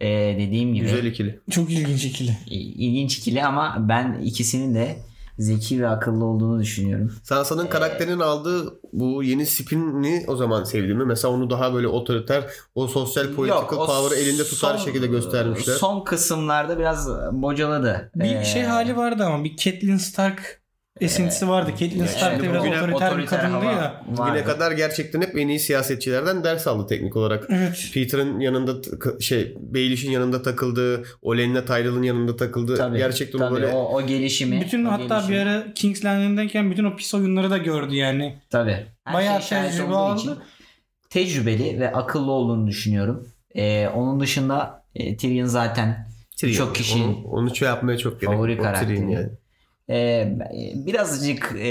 Speaker 3: eee, dediğim gibi
Speaker 2: Güzel ikili.
Speaker 4: Çok ilginç ikili.
Speaker 3: ilginç ikili ama ben ikisinin de zeki ve akıllı olduğunu düşünüyorum.
Speaker 2: Sansa'nın karakterinin aldığı bu yeni spin'i o zaman sevdim mi? Mesela onu daha böyle otoriter, o sosyal political
Speaker 3: o
Speaker 2: power'ı elinde tutar
Speaker 3: son-
Speaker 2: şekilde göstermişler.
Speaker 3: Son kısımlarda biraz bocaladı.
Speaker 4: Bir
Speaker 3: Ee,
Speaker 4: şey hali vardı ama bir Catelyn Stark esintisi vardı. Catelyn
Speaker 3: yani
Speaker 4: Stark da
Speaker 3: şimdi
Speaker 4: biraz
Speaker 2: bugüne-
Speaker 4: otoriter, bir kadındı
Speaker 3: hava
Speaker 4: ya.
Speaker 2: Bugüne
Speaker 3: vardı.
Speaker 2: kadar gerçekten hep en iyi siyasetçilerden ders aldı teknik olarak.
Speaker 4: Evet.
Speaker 2: Peter'ın yanında t- şey Baelish'in yanında takıldığı, Olen'le Tyrell'ın yanında takıldığı.
Speaker 3: Tabii,
Speaker 2: gerçekten o
Speaker 3: tabii,
Speaker 2: böyle
Speaker 3: o, o gelişimi.
Speaker 4: Bütün
Speaker 3: o
Speaker 4: hatta bir
Speaker 3: gelişimi.
Speaker 4: ara King's Landing'deyken bütün o pis oyunları da gördü yani.
Speaker 3: Tabii. Her
Speaker 4: Bayağı
Speaker 3: şey şahit
Speaker 4: tecrübe
Speaker 3: olduğu
Speaker 4: aldı.
Speaker 3: için Tecrübeli ve akıllı olduğunu düşünüyorum. Ee, onun dışında e, Tyrion zaten
Speaker 2: Tyrion.
Speaker 3: çok kişi-
Speaker 2: Onu, onu şey yapmaya çok gerek.
Speaker 3: Favori
Speaker 2: yok. O
Speaker 3: karakteri.
Speaker 2: Tyrion yani.
Speaker 3: e, birazcık e,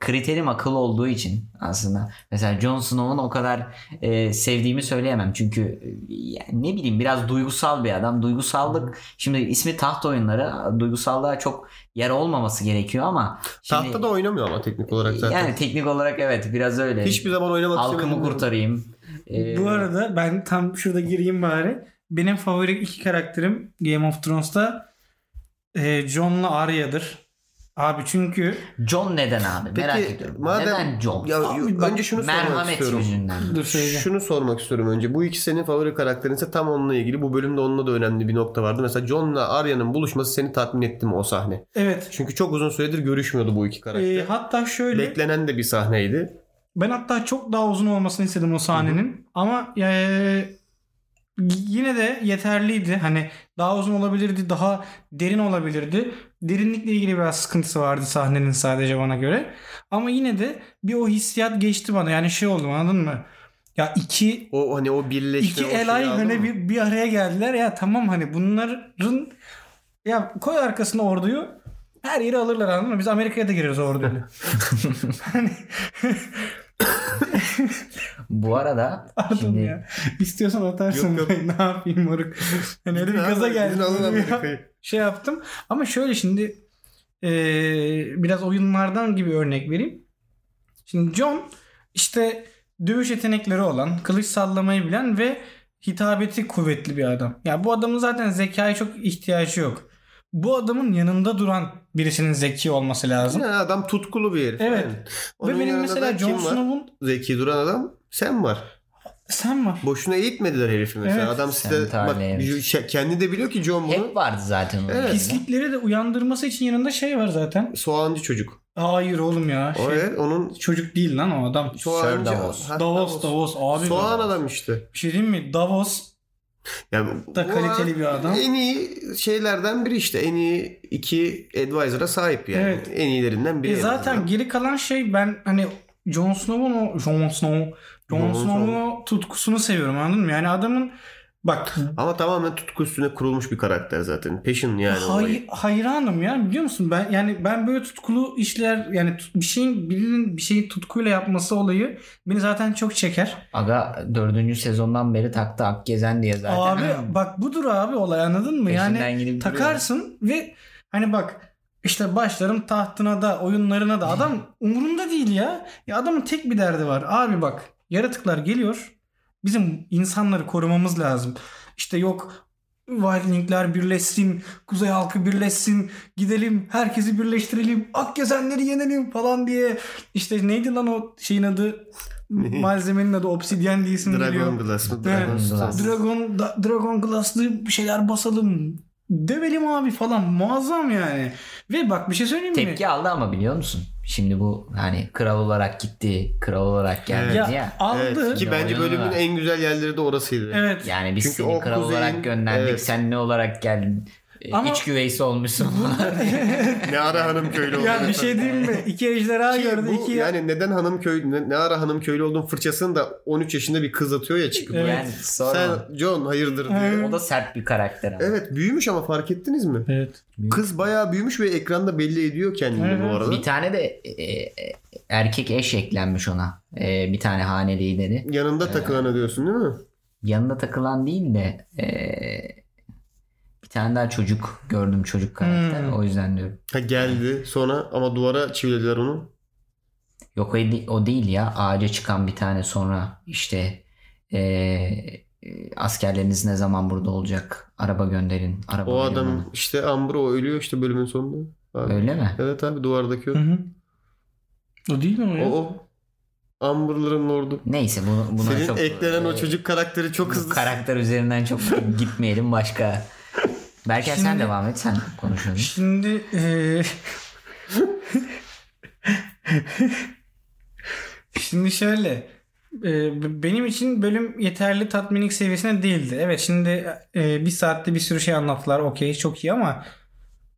Speaker 3: kriterim akıllı olduğu için aslında. Mesela Jon Snow'un o kadar e, sevdiğimi söyleyemem. Çünkü e, yani ne bileyim biraz duygusal bir adam. Duygusallık şimdi ismi taht oyunları duygusallığa çok yer olmaması gerekiyor ama şimdi,
Speaker 2: Tahta da oynamıyor ama teknik olarak zaten.
Speaker 3: yani teknik olarak evet biraz öyle.
Speaker 2: Hiçbir zaman şey oynamak
Speaker 3: Halkımı
Speaker 2: istemiyorum.
Speaker 3: kurtarayım. E,
Speaker 4: Bu arada ben tam şurada gireyim bari. Benim favori iki karakterim Game of Thrones'ta e, Jon'la Arya'dır. Abi çünkü
Speaker 3: John neden abi? Merak ediyorum. neden John?
Speaker 2: Ya,
Speaker 4: Abi bak,
Speaker 2: önce şunu sormak
Speaker 3: Merhamet
Speaker 2: istiyorum.
Speaker 3: yüzünden.
Speaker 4: dur söyleyeceğim.
Speaker 2: Şunu sormak istiyorum önce. Bu iki senin favori karakterinse tam onunla ilgili. Bu bölümde onunla da önemli bir nokta vardı. Mesela John'la Arya'nın buluşması seni tatmin etti mi o sahne?
Speaker 4: Evet.
Speaker 2: Çünkü çok uzun süredir görüşmüyordu bu iki karakter.
Speaker 4: E, hatta şöyle
Speaker 2: Beklenen de bir sahneydi.
Speaker 4: ben hatta çok daha uzun olmasını istedim o sahnenin. Ama e, yine de yeterliydi. Hani daha uzun olabilirdi, daha derin olabilirdi. Derinlikle ilgili biraz sıkıntısı vardı sahnenin sadece bana göre. Ama yine de bir o hissiyat geçti bana. Yani şey oldu anladın mı? Ya iki
Speaker 2: O hani o birleşme.
Speaker 4: İki
Speaker 2: o şeyi
Speaker 4: elay
Speaker 2: aldın
Speaker 4: hani
Speaker 2: mı?
Speaker 4: bir, bir araya geldiler ya tamam hani bunların ya koy arkasına orduyu her yeri alırlar anladın mı? Biz Amerika'ya da gireriz orduyla.
Speaker 3: Bu arada
Speaker 4: Pardon
Speaker 3: şimdi
Speaker 4: ya. İstiyorsan atarsın.
Speaker 2: Yok, yok.
Speaker 4: ne yapayım moruk. Hani öyle bir
Speaker 2: Abi,
Speaker 4: gaza
Speaker 2: izin
Speaker 4: geldim.
Speaker 2: alın
Speaker 4: Ya,
Speaker 2: Amerika'yı.
Speaker 4: Şey yaptım. Ama şöyle şimdi Ee, biraz oyunlardan gibi örnek vereyim. Şimdi John işte dövüş yetenekleri olan, kılıç sallamayı bilen ve hitabeti kuvvetli bir adam. Ya bu adamın zaten zekaya çok ihtiyacı yok. Bu adamın yanında duran birisinin zeki olması lazım.
Speaker 2: Yani adam tutkulu bir herif.
Speaker 4: Evet.
Speaker 2: Yani.
Speaker 4: Ve benim
Speaker 2: yanında da
Speaker 4: mesela
Speaker 2: kim
Speaker 4: Jon
Speaker 2: var?
Speaker 4: Snow'un
Speaker 2: Zeki duran adam sen var.
Speaker 4: sen var.
Speaker 2: Boşuna eğitmediler herifi mesela.
Speaker 4: Evet.
Speaker 2: adam size
Speaker 3: Sen
Speaker 2: bak
Speaker 3: tarlayı-
Speaker 2: ju- şey- kendi de biliyor ki John bunu
Speaker 3: Hep vardı zaten. onun
Speaker 2: Evet.
Speaker 3: yanında.
Speaker 4: Pislikleri de uyandırması için yanında şey var zaten.
Speaker 2: soğancı çocuk.
Speaker 4: Hayır oğlum ya.
Speaker 2: O
Speaker 4: şey-
Speaker 2: evet onun
Speaker 4: Çocuk değil lan o adam.
Speaker 2: soğancı.
Speaker 3: Davos.
Speaker 2: Ha,
Speaker 4: Davos Davos abi.
Speaker 2: Soğan adam işte.
Speaker 4: Bir şey diyeyim mi? Davos
Speaker 2: Yani bu-
Speaker 4: Da
Speaker 2: bu
Speaker 4: kaliteli bir adam. E,
Speaker 2: En iyi şeylerden biri işte. En iyi iki advisor'a sahip yani.
Speaker 4: Evet.
Speaker 2: En iyilerinden biri.
Speaker 4: E
Speaker 2: en
Speaker 4: zaten
Speaker 2: azından.
Speaker 4: geri kalan şey ben hani Jon Snow'un o Jon Snow Jon
Speaker 2: Jon
Speaker 4: Snow'un
Speaker 2: Snow.
Speaker 4: o tutkusunu seviyorum anladın mı? Yani adamın bak
Speaker 2: ama tamamen tutku üstüne kurulmuş bir karakter zaten. Peşin yani.
Speaker 4: hay,
Speaker 2: olayı.
Speaker 4: hayranım ya biliyor musun? Ben yani ben böyle tutkulu işler yani tut- bir şeyin birinin bir şeyi tutkuyla yapması olayı beni zaten çok çeker.
Speaker 3: Aga dördüncü sezondan beri taktı Akgezen diye zaten.
Speaker 4: Abi bak budur abi olay anladın mı? Yani
Speaker 3: Peşinden gidip duruyor.
Speaker 4: takarsın ve hani bak işte başlarım tahtına da oyunlarına da adam umurunda değil ya. Ya adamın tek bir derdi var. Abi bak yaratıklar geliyor. Bizim insanları korumamız lazım. İşte yok Wildlingler birleşsin, Kuzey halkı birleşsin, gidelim herkesi birleştirelim, Akgezenleri yenelim falan diye. İşte neydi lan o şeyin adı? Malzemenin adı Obsidian diye isim geliyor.
Speaker 2: Dragon Glass mı?
Speaker 4: Evet.
Speaker 2: Dragon Glass.
Speaker 4: Dragon da- Dragon Glass'lı bir şeyler basalım. Dövelim abi falan. Muazzam yani. Ve bak bir şey söyleyeyim mi?
Speaker 3: Tepki aldı ama biliyor musun? Şimdi bu hani kral olarak gitti, kral olarak geldi
Speaker 4: ya
Speaker 3: ya.
Speaker 4: aldı.
Speaker 2: Evet, ki bence bölümün en güzel yerleri de orasıydı.
Speaker 4: Evet.
Speaker 3: Yani biz
Speaker 2: Çünkü
Speaker 3: seni
Speaker 2: o
Speaker 3: kral
Speaker 2: kuzeyin-
Speaker 3: olarak gönderdik.
Speaker 2: Evet.
Speaker 3: Sen ne olarak geldin? E,
Speaker 4: Ama-
Speaker 3: İç güveysi olmuşsun.
Speaker 2: Ne ara hanım köylü oldu.
Speaker 4: ya bir şey değil mi? İki ejderha
Speaker 2: Ki
Speaker 4: gördü.
Speaker 2: bu,
Speaker 4: iki
Speaker 2: yani neden hanım köylü ne, ne ara hanım köylü olduğun fırçasını da 13 yaşında bir kız atıyor ya çıkıp.
Speaker 4: Evet.
Speaker 3: yani sonra
Speaker 2: Sen John hayırdır diye.
Speaker 4: Evet.
Speaker 2: Evet.
Speaker 3: o da sert bir karakter ama.
Speaker 2: büyümüş ama fark ettiniz mi?
Speaker 4: Evet.
Speaker 2: Kız bayağı büyümüş ve ekranda belli ediyor kendini bu
Speaker 4: Evet.
Speaker 2: arada.
Speaker 3: Bir tane de e, e, erkek eş eklenmiş ona. E, bir tane Ee. hane lideri.
Speaker 2: Yanında takılanı diyorsun değil mi?
Speaker 3: Yanında takılan değil de e, bir tane daha çocuk gördüm çocuk karakter.
Speaker 4: Hmm.
Speaker 3: O yüzden diyorum.
Speaker 2: Ha geldi sonra ama duvara çivilediler onu.
Speaker 3: Yok o, de- o değil ya. Ağaca çıkan bir tane sonra işte e, e, askerleriniz ne zaman burada olacak? Araba gönderin. Araba
Speaker 2: O
Speaker 3: verin
Speaker 2: adam işte Ambro ölüyor işte bölümün sonunda. Abi.
Speaker 3: bana. Öyle mi?
Speaker 2: Evet abi duvardaki o.
Speaker 4: Hı hı. O değil mi o ya?
Speaker 2: O o. Amber'ların lordu.
Speaker 3: Neyse bunu, buna
Speaker 2: Senin
Speaker 3: çok...
Speaker 2: eklenen o
Speaker 3: e,
Speaker 2: çocuk karakteri
Speaker 3: bu
Speaker 2: çok hızlı.
Speaker 3: Karakter üzerinden çok gitmeyelim başka. Berker sen
Speaker 4: Şimdi-
Speaker 3: devam et sen konuşuyorsun.
Speaker 4: Şimdi e, eee, Şimdi şöyle eee, b- benim için bölüm yeterli tatminlik seviyesine değildi. Evet şimdi eee, bir saatte bir sürü şey anlattılar. Okey çok iyi ama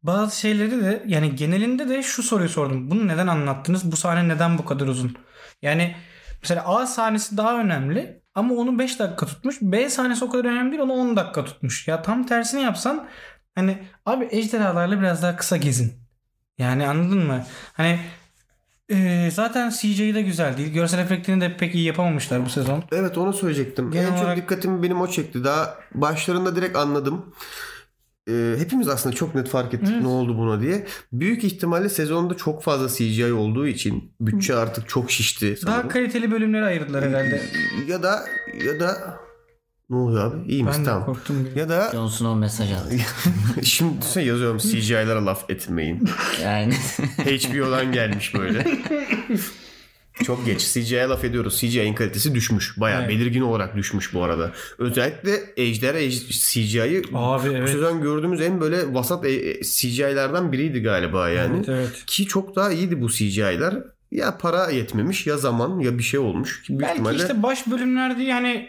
Speaker 4: bazı şeyleri de yani genelinde de şu soruyu sordum. Bunu neden anlattınız? Bu sahne neden bu kadar uzun? Yani mesela A sahnesi daha önemli ama onu 5 dakika tutmuş. B sahnesi o kadar önemli değil onu 10 dakika tutmuş. Ya tam tersini yapsan hani abi ejderhalarla biraz daha kısa gezin. Yani anladın mı? Hani e, zaten CGI de güzel değil. Görsel efektini de pek iyi yapamamışlar bu sezon.
Speaker 2: Evet onu söyleyecektim.
Speaker 4: Genel
Speaker 2: en çok
Speaker 4: olarak-
Speaker 2: dikkatimi benim o çekti. Daha başlarında direkt anladım. Ee, hepimiz aslında çok net fark ettik
Speaker 4: Evet.
Speaker 2: ne oldu buna diye. Büyük ihtimalle sezonda çok fazla CGI olduğu için bütçe artık çok şişti
Speaker 4: Daha
Speaker 2: sanırım.
Speaker 4: kaliteli bölümleri ayırdılar herhalde.
Speaker 2: ya da ya da ne oluyor abi? İyi misin?
Speaker 4: Ben de
Speaker 2: Tamam.
Speaker 4: korktum. biraz.
Speaker 2: Ya da
Speaker 3: Jon Snow mesaj aldı.
Speaker 2: şimdi düşünsene yazıyorum CGI'lara laf etmeyin.
Speaker 3: Yani
Speaker 2: HBO'dan gelmiş böyle. Çok geç. CGI'ye laf ediyoruz. CGI'nin kalitesi düşmüş. Bayağı
Speaker 4: Evet.
Speaker 2: belirgin olarak düşmüş bu arada. Özellikle Ejder CGI'yi
Speaker 4: Abi
Speaker 2: bu
Speaker 4: evet.
Speaker 2: sezon gördüğümüz en böyle vasat e, e, CGI'lerden biriydi galiba yani.
Speaker 4: Evet, evet.
Speaker 2: Ki çok daha iyiydi bu CGI'ler. Ya para yetmemiş ya zaman ya bir şey olmuş. Ki büyük
Speaker 4: Belki
Speaker 2: ihtimalle...
Speaker 4: işte baş bölümlerde yani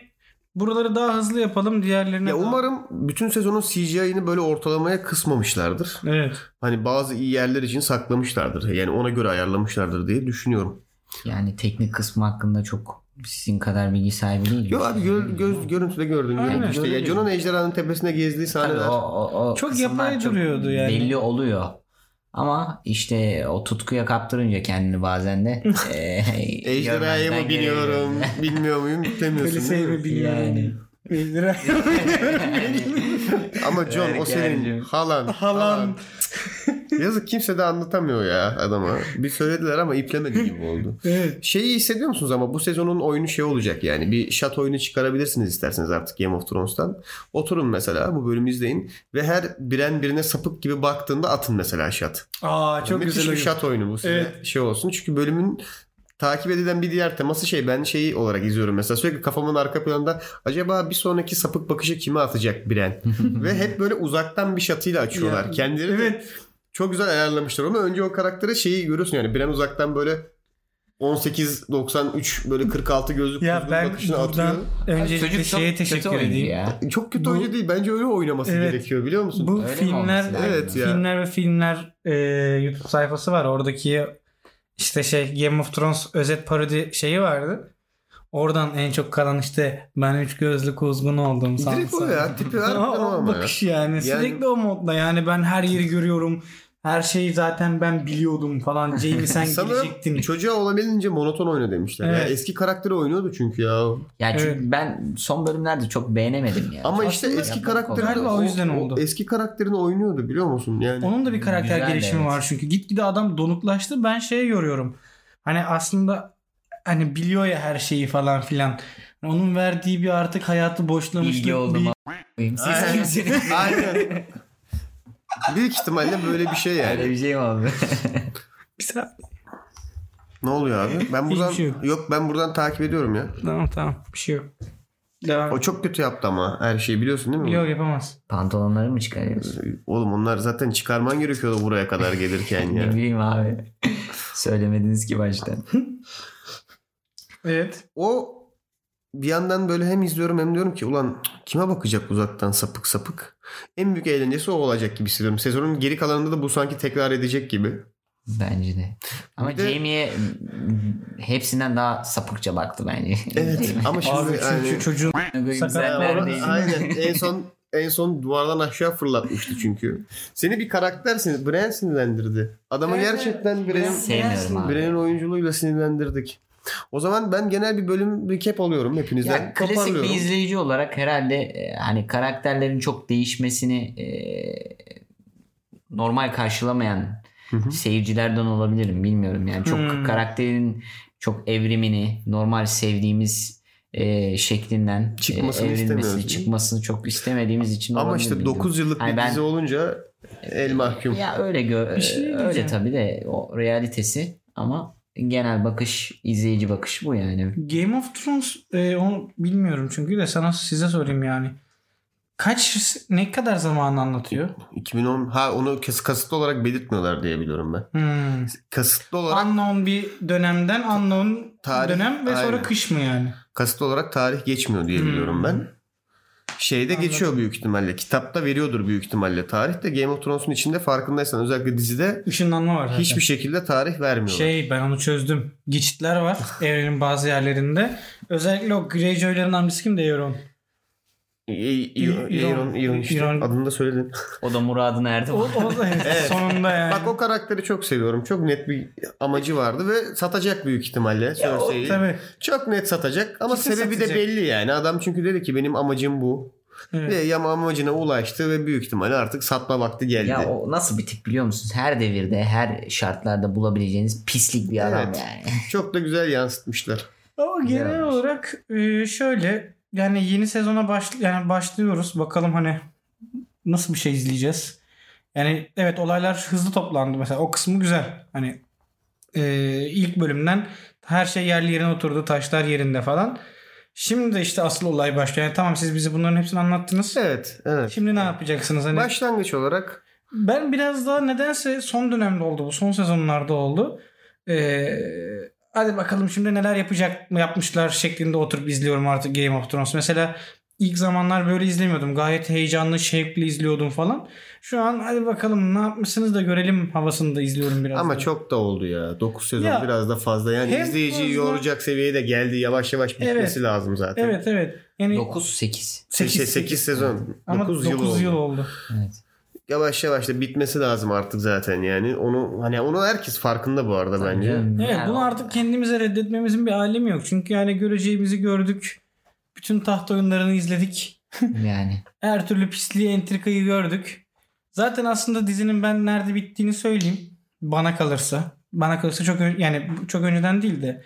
Speaker 4: buraları daha hızlı yapalım diğerlerine.
Speaker 2: Ya
Speaker 4: daha-
Speaker 2: umarım bütün sezonun CGI'ni böyle ortalamaya kısmamışlardır.
Speaker 4: Evet.
Speaker 2: Hani bazı iyi yerler için saklamışlardır. Yani ona göre ayarlamışlardır diye düşünüyorum.
Speaker 3: yani teknik kısmı hakkında çok sizin kadar bilgi sahibi değilim.
Speaker 2: Yok abi gör, göz, görüntüde gördüm.
Speaker 4: Aynen.
Speaker 2: Yani işte ya John'un ejderhanın tepesine gezdiği
Speaker 3: Tabii
Speaker 2: sahneler.
Speaker 3: o, o, o
Speaker 4: Çok
Speaker 3: kısımlar
Speaker 4: yapay duruyordu yani.
Speaker 3: Belli oluyor. Ama işte o tutkuya kaptırınca kendini bazen de eee,
Speaker 2: Ejderhaya mı
Speaker 3: görmezden
Speaker 2: biniyorum,
Speaker 3: geliyor.
Speaker 2: bilmiyor muyum
Speaker 4: Öyle
Speaker 2: demiyorsun
Speaker 4: şey
Speaker 2: değil
Speaker 4: mi
Speaker 2: mi?
Speaker 4: bilmiyorum.
Speaker 3: Yani.
Speaker 4: Bilmiyorum.
Speaker 2: Ama John o
Speaker 3: Yani
Speaker 2: senin
Speaker 3: geldim.
Speaker 2: halan.
Speaker 4: Halan.
Speaker 2: Yazık kimse de anlatamıyor ya adama. Bir söylediler ama iplemedi gibi oldu.
Speaker 4: Evet.
Speaker 2: Şeyi hissediyor musunuz ama bu sezonun oyunu şey olacak yani. Bir şat oyunu çıkarabilirsiniz isterseniz artık Game of Thrones'tan. Oturun mesela bu bölümü izleyin ve her biren birine sapık gibi baktığında atın mesela şat.
Speaker 4: Aa çok
Speaker 2: Müthiş
Speaker 4: güzel
Speaker 2: bir
Speaker 4: oyun.
Speaker 2: şat oyunu bu size
Speaker 4: Evet.
Speaker 2: şey olsun. Çünkü bölümün takip edilen bir diğer teması şey ben şeyi olarak izliyorum mesela sürekli kafamın arka planında acaba bir sonraki sapık bakışı kime atacak Biren ve hep böyle uzaktan bir şatıyla açıyorlar
Speaker 4: Ya,
Speaker 2: kendileri de
Speaker 4: Evet.
Speaker 2: çok güzel ayarlamışlar onu önce o karaktere şeyi görüyorsun yani Biren uzaktan böyle 18 93 böyle 46 gözlük
Speaker 4: Ya
Speaker 2: kuzgun
Speaker 4: ben
Speaker 2: bakışını atıyor.
Speaker 4: buradan öncelikle
Speaker 3: Çocuk çok
Speaker 4: şeye
Speaker 3: kötü
Speaker 4: teşekkür
Speaker 3: oyuncu
Speaker 4: edeyim.
Speaker 3: ya.
Speaker 2: Çok kötü
Speaker 4: Bu-
Speaker 2: oyuncu değil bence öyle oynaması
Speaker 4: Evet.
Speaker 2: gerekiyor biliyor musun?
Speaker 4: Bu
Speaker 3: Öyle mi
Speaker 4: filmler
Speaker 3: olması lazım?
Speaker 2: evet ya.
Speaker 4: filmler ve filmler e, YouTube sayfası var. Oradaki işte şey Game of Thrones özet parodi şeyi vardı. Oradan en çok kalan işte ben üç gözlü kuzgun oldum.
Speaker 2: Direkt o
Speaker 4: sansa.
Speaker 2: ya tipi harbiden
Speaker 4: Ama
Speaker 2: o
Speaker 4: o
Speaker 2: ama ya.
Speaker 4: bakış yani. Sürekli o modda yani ben her yeri görüyorum. Her şeyi zaten ben biliyordum falan. Jamie sen
Speaker 2: Sanırım
Speaker 4: gelecektin.
Speaker 2: çocuğa olabildiğince monoton oyna demişler. Ya
Speaker 4: Evet.
Speaker 2: eski karakteri oynuyordu çünkü ya.
Speaker 3: Yani çünkü
Speaker 4: Evet.
Speaker 3: ben son bölümlerde çok beğenemedim ya.
Speaker 2: Ama işte
Speaker 4: Aslında
Speaker 2: eski
Speaker 3: yapmak
Speaker 2: karakteri
Speaker 4: kolay. Galiba o yüzden oldu.
Speaker 2: Eski karakterini oynuyordu biliyor musun? Yani
Speaker 4: Onun da bir karakter
Speaker 3: Güzel,
Speaker 4: gelişimi
Speaker 3: evet.
Speaker 4: var çünkü. Gitgide adam donuklaştı. Ben şeye yoruyorum. Hani aslında hani biliyor ya her şeyi falan filan. Onun verdiği bir artık hayatı boşlamışlık.
Speaker 3: bilgi oldum. a**ayım. Siz
Speaker 2: Aynen.
Speaker 3: kimsiniz?
Speaker 2: Aynen. Büyük ihtimalle böyle bir şey yani.
Speaker 3: Öyle bir şey mi oldu?
Speaker 4: Bir saniye.
Speaker 2: Ne oluyor abi? Ben buradan
Speaker 4: Hiçbir şey yok.
Speaker 2: yok ben buradan takip ediyorum ya.
Speaker 4: Tamam tamam bir şey yok. Devam.
Speaker 2: O çok kötü yaptı ama her şeyi biliyorsun değil mi?
Speaker 4: Yok yapamaz.
Speaker 3: Pantolonları mı çıkarıyorsun?
Speaker 2: Oğlum onlar zaten çıkarman gerekiyordu buraya kadar gelirken
Speaker 3: Ne
Speaker 2: ya.
Speaker 3: bileyim abi. Söylemediniz ki baştan.
Speaker 4: Evet.
Speaker 2: O bir yandan böyle hem izliyorum hem diyorum ki ulan kime bakacak uzaktan sapık sapık. En büyük eğlencesi o olacak gibi hissediyorum. Sezonun geri kalanında da bu sanki tekrar edecek gibi.
Speaker 3: Bence de. Ama
Speaker 2: Bir de-
Speaker 3: Jamie'ye hmm, hepsinden daha sapıkça baktı bence.
Speaker 2: Evet ama şimdi
Speaker 4: Abi çünkü
Speaker 2: yani-
Speaker 4: çocuğun
Speaker 2: Ya
Speaker 4: Sakat-
Speaker 3: Güzel
Speaker 2: onu-
Speaker 4: neredeyim?
Speaker 2: aynen en son en son duvardan aşağı fırlatmıştı çünkü. Seni bir karakter sin- Bren sinirlendirdi. Adamı
Speaker 4: Evet.
Speaker 2: gerçekten Bren'in
Speaker 3: Sevmiyorum abi.
Speaker 2: Bren'in oyunculuğuyla sinirlendirdik. O zaman ben genel bir bölüm recap alıyorum hepinizden.
Speaker 3: Ya klasik bir
Speaker 2: Toparlıyorum.
Speaker 3: izleyici olarak herhalde e, hani karakterlerin çok değişmesini e, normal karşılamayan
Speaker 2: Hı hı.
Speaker 3: seyircilerden olabilirim bilmiyorum yani çok
Speaker 4: Hmm.
Speaker 3: karakterin çok evrimini normal sevdiğimiz e, şeklinden
Speaker 2: Çıkmasını
Speaker 3: evrilmesini,
Speaker 2: istemiyoruz.
Speaker 3: çıkmasını çok istemediğimiz için
Speaker 2: Ama
Speaker 3: olabilir
Speaker 2: işte
Speaker 3: bilmiyorum.
Speaker 2: 9 yıllık bir
Speaker 3: Hani ben-
Speaker 2: dizi olunca el mahkum.
Speaker 3: ya öyle gö-
Speaker 4: Bir şey
Speaker 3: e, öyle
Speaker 4: diyeceğim.
Speaker 3: tabi de o realitesi ama genel bakış izleyici bakışı bu yani
Speaker 4: Game of Thrones e, onu bilmiyorum çünkü de sana size sorayım yani. Kaç ne kadar zamanı anlatıyor?
Speaker 2: 2010 ha onu kes- kasıtlı olarak belirtmiyorlar diye biliyorum ben.
Speaker 4: Hmm.
Speaker 2: Kasıtlı olarak
Speaker 4: Unknown bir dönemden unknown
Speaker 2: Tarih-
Speaker 4: dönem ve sonra
Speaker 2: aynen.
Speaker 4: kış mı yani?
Speaker 2: kasıtlı olarak tarih geçmiyor diye
Speaker 4: Hmm.
Speaker 2: biliyorum ben. Şeyde
Speaker 4: Anladım.
Speaker 2: geçiyor büyük ihtimalle. Kitapta veriyordur büyük ihtimalle. Tarih de Game of Thrones'un içinde farkındaysan özellikle dizide
Speaker 4: Işınlanma var. zaten.
Speaker 2: hiçbir şekilde tarih vermiyorlar.
Speaker 4: şey ben onu çözdüm. Geçitler var evrenin bazı yerlerinde. Özellikle o Greyjoy'ların amcası kimdi Euron? İron-
Speaker 2: İron, İron işte.
Speaker 4: İron-
Speaker 2: Adını da söyledim.
Speaker 3: o da muradına erdi
Speaker 4: O, o evet, sonunda yani.
Speaker 2: Bak o karakteri çok seviyorum. Çok net bir amacı vardı ve satacak büyük ihtimalle Cersei'yi.
Speaker 4: Tabii.
Speaker 2: Çok net satacak ama
Speaker 4: Kesin
Speaker 2: sebebi de
Speaker 4: satacak.
Speaker 2: belli yani. Adam çünkü dedi ki benim amacım bu.
Speaker 4: Evet.
Speaker 2: Ve yama amacına ulaştı ve büyük ihtimalle artık satma vakti geldi.
Speaker 3: Ya o nasıl bir tip biliyor musunuz? Her devirde, her şartlarda bulabileceğiniz pislik bir adam
Speaker 2: Evet.
Speaker 3: yani.
Speaker 2: Çok da güzel yansıtmışlar.
Speaker 4: Ama genel
Speaker 3: Güzel olmuş.
Speaker 4: olarak e, şöyle yani yeni sezona baş, yani başlıyoruz. Bakalım hani nasıl bir şey izleyeceğiz. Yani evet olaylar hızlı toplandı mesela o kısmı güzel. Hani e, ilk bölümden her şey yerli yerine oturdu. Taşlar yerinde falan. Şimdi işte asıl olay başlıyor. Yani tamam siz bize bunların hepsini anlattınız.
Speaker 2: Evet, evet.
Speaker 4: Şimdi ne yapacaksınız? Hani
Speaker 2: Başlangıç olarak
Speaker 4: ben biraz daha nedense son dönemde oldu bu. Son sezonlarda oldu. Ee, hadi bakalım şimdi neler yapacak mı yapmışlar şeklinde oturup izliyorum artık Game of Thrones. Mesela ilk zamanlar böyle izlemiyordum. Gayet heyecanlı, şevkli izliyordum falan. Şu an hadi bakalım ne yapmışsınız da görelim havasında izliyorum biraz.
Speaker 2: Ama
Speaker 4: da.
Speaker 2: çok da oldu ya. 9 sezon
Speaker 4: Ya,
Speaker 2: biraz da fazla. Yani
Speaker 4: hem
Speaker 2: izleyiciyi
Speaker 4: fazla-
Speaker 2: yoracak seviyeye de geldi. Yavaş yavaş bitmesi
Speaker 4: Evet.
Speaker 2: lazım zaten.
Speaker 4: Evet evet. Yani
Speaker 3: 9-8.
Speaker 4: sekiz-
Speaker 2: 8, 8 sezon.
Speaker 4: Ama
Speaker 2: 9
Speaker 4: 9
Speaker 2: şey, yıl oldu.
Speaker 4: yıl oldu.
Speaker 3: Evet.
Speaker 2: Yavaş yavaş da bitmesi lazım artık zaten yani. Onu hani onu herkes farkında bu arada bence.
Speaker 4: Evet bunu artık kendimize reddetmemizin bir alemi yok. Çünkü yani göreceğimizi gördük. Bütün taht oyunlarını izledik.
Speaker 3: yani
Speaker 4: Her türlü pisliği, entrikayı gördük. Zaten aslında dizinin ben nerede bittiğini söyleyeyim. Bana kalırsa. Bana kalırsa çok ön- yani çok önceden değil de.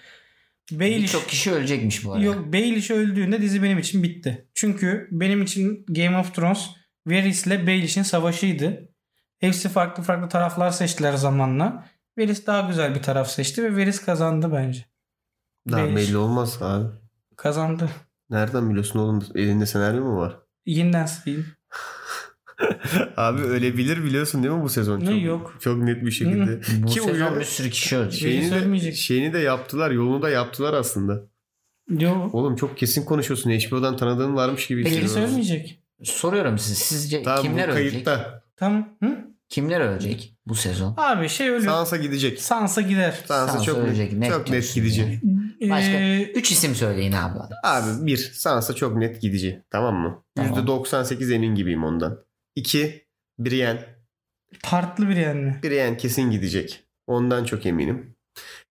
Speaker 4: Baelish
Speaker 3: Birçok kişi ölecekmiş bu arada.
Speaker 4: Yok Baelish öldüğünde dizi benim için bitti. Çünkü benim için Game of Thrones Varys ile Baelish'in savaşıydı. Hepsi farklı farklı taraflar seçtiler zamanla. Varys daha güzel bir taraf seçti ve Varys kazandı bence.
Speaker 2: Daha
Speaker 4: Beş.
Speaker 2: belli olmaz abi.
Speaker 4: Kazandı.
Speaker 2: Nereden biliyorsun oğlum? Elinde senaryo mu var?
Speaker 4: Yeniden sileyim.
Speaker 2: abi ölebilir biliyorsun değil mi bu sezon?
Speaker 4: Ne
Speaker 2: Çok,
Speaker 4: yok.
Speaker 2: Çok net bir şekilde.
Speaker 3: Bu
Speaker 2: Ki
Speaker 3: sezon
Speaker 2: uyuyor.
Speaker 3: bir sürü kişi ölecek.
Speaker 4: Şey-
Speaker 2: Şeyini de,
Speaker 4: söylemeyecek.
Speaker 2: şeyini de yaptılar. Yolunu da yaptılar aslında.
Speaker 4: Yok.
Speaker 2: Oğlum çok kesin konuşuyorsun. HBO'dan tanıdığın varmış gibi
Speaker 3: Peki,
Speaker 4: Biri
Speaker 2: hissediyorum.
Speaker 4: söylemeyecek.
Speaker 3: Soruyorum size sizce
Speaker 2: Tamam
Speaker 3: kimler
Speaker 2: bu
Speaker 3: ölecek?
Speaker 2: kayıtta.
Speaker 4: Tamam. Hı?
Speaker 3: Kimler ölecek bu sezon?
Speaker 4: Abi şey ölüyor.
Speaker 2: Sansa gidecek.
Speaker 4: Sansa gider.
Speaker 2: Sansa,
Speaker 3: Sansa
Speaker 2: çok
Speaker 3: ölecek,
Speaker 2: net,
Speaker 3: net
Speaker 2: çok net
Speaker 3: diyorsun
Speaker 2: gidecek.
Speaker 3: yani. Başka
Speaker 4: Ee,
Speaker 3: 3 isim söyleyin abi.
Speaker 2: Abi bir Sansa çok net gidecek. Tamam mı?
Speaker 3: Tamam.
Speaker 2: %98 emin gibiyim ondan. İki Brienne.
Speaker 4: partlı bir yani mi?
Speaker 2: Brienne kesin gidecek. Ondan çok eminim.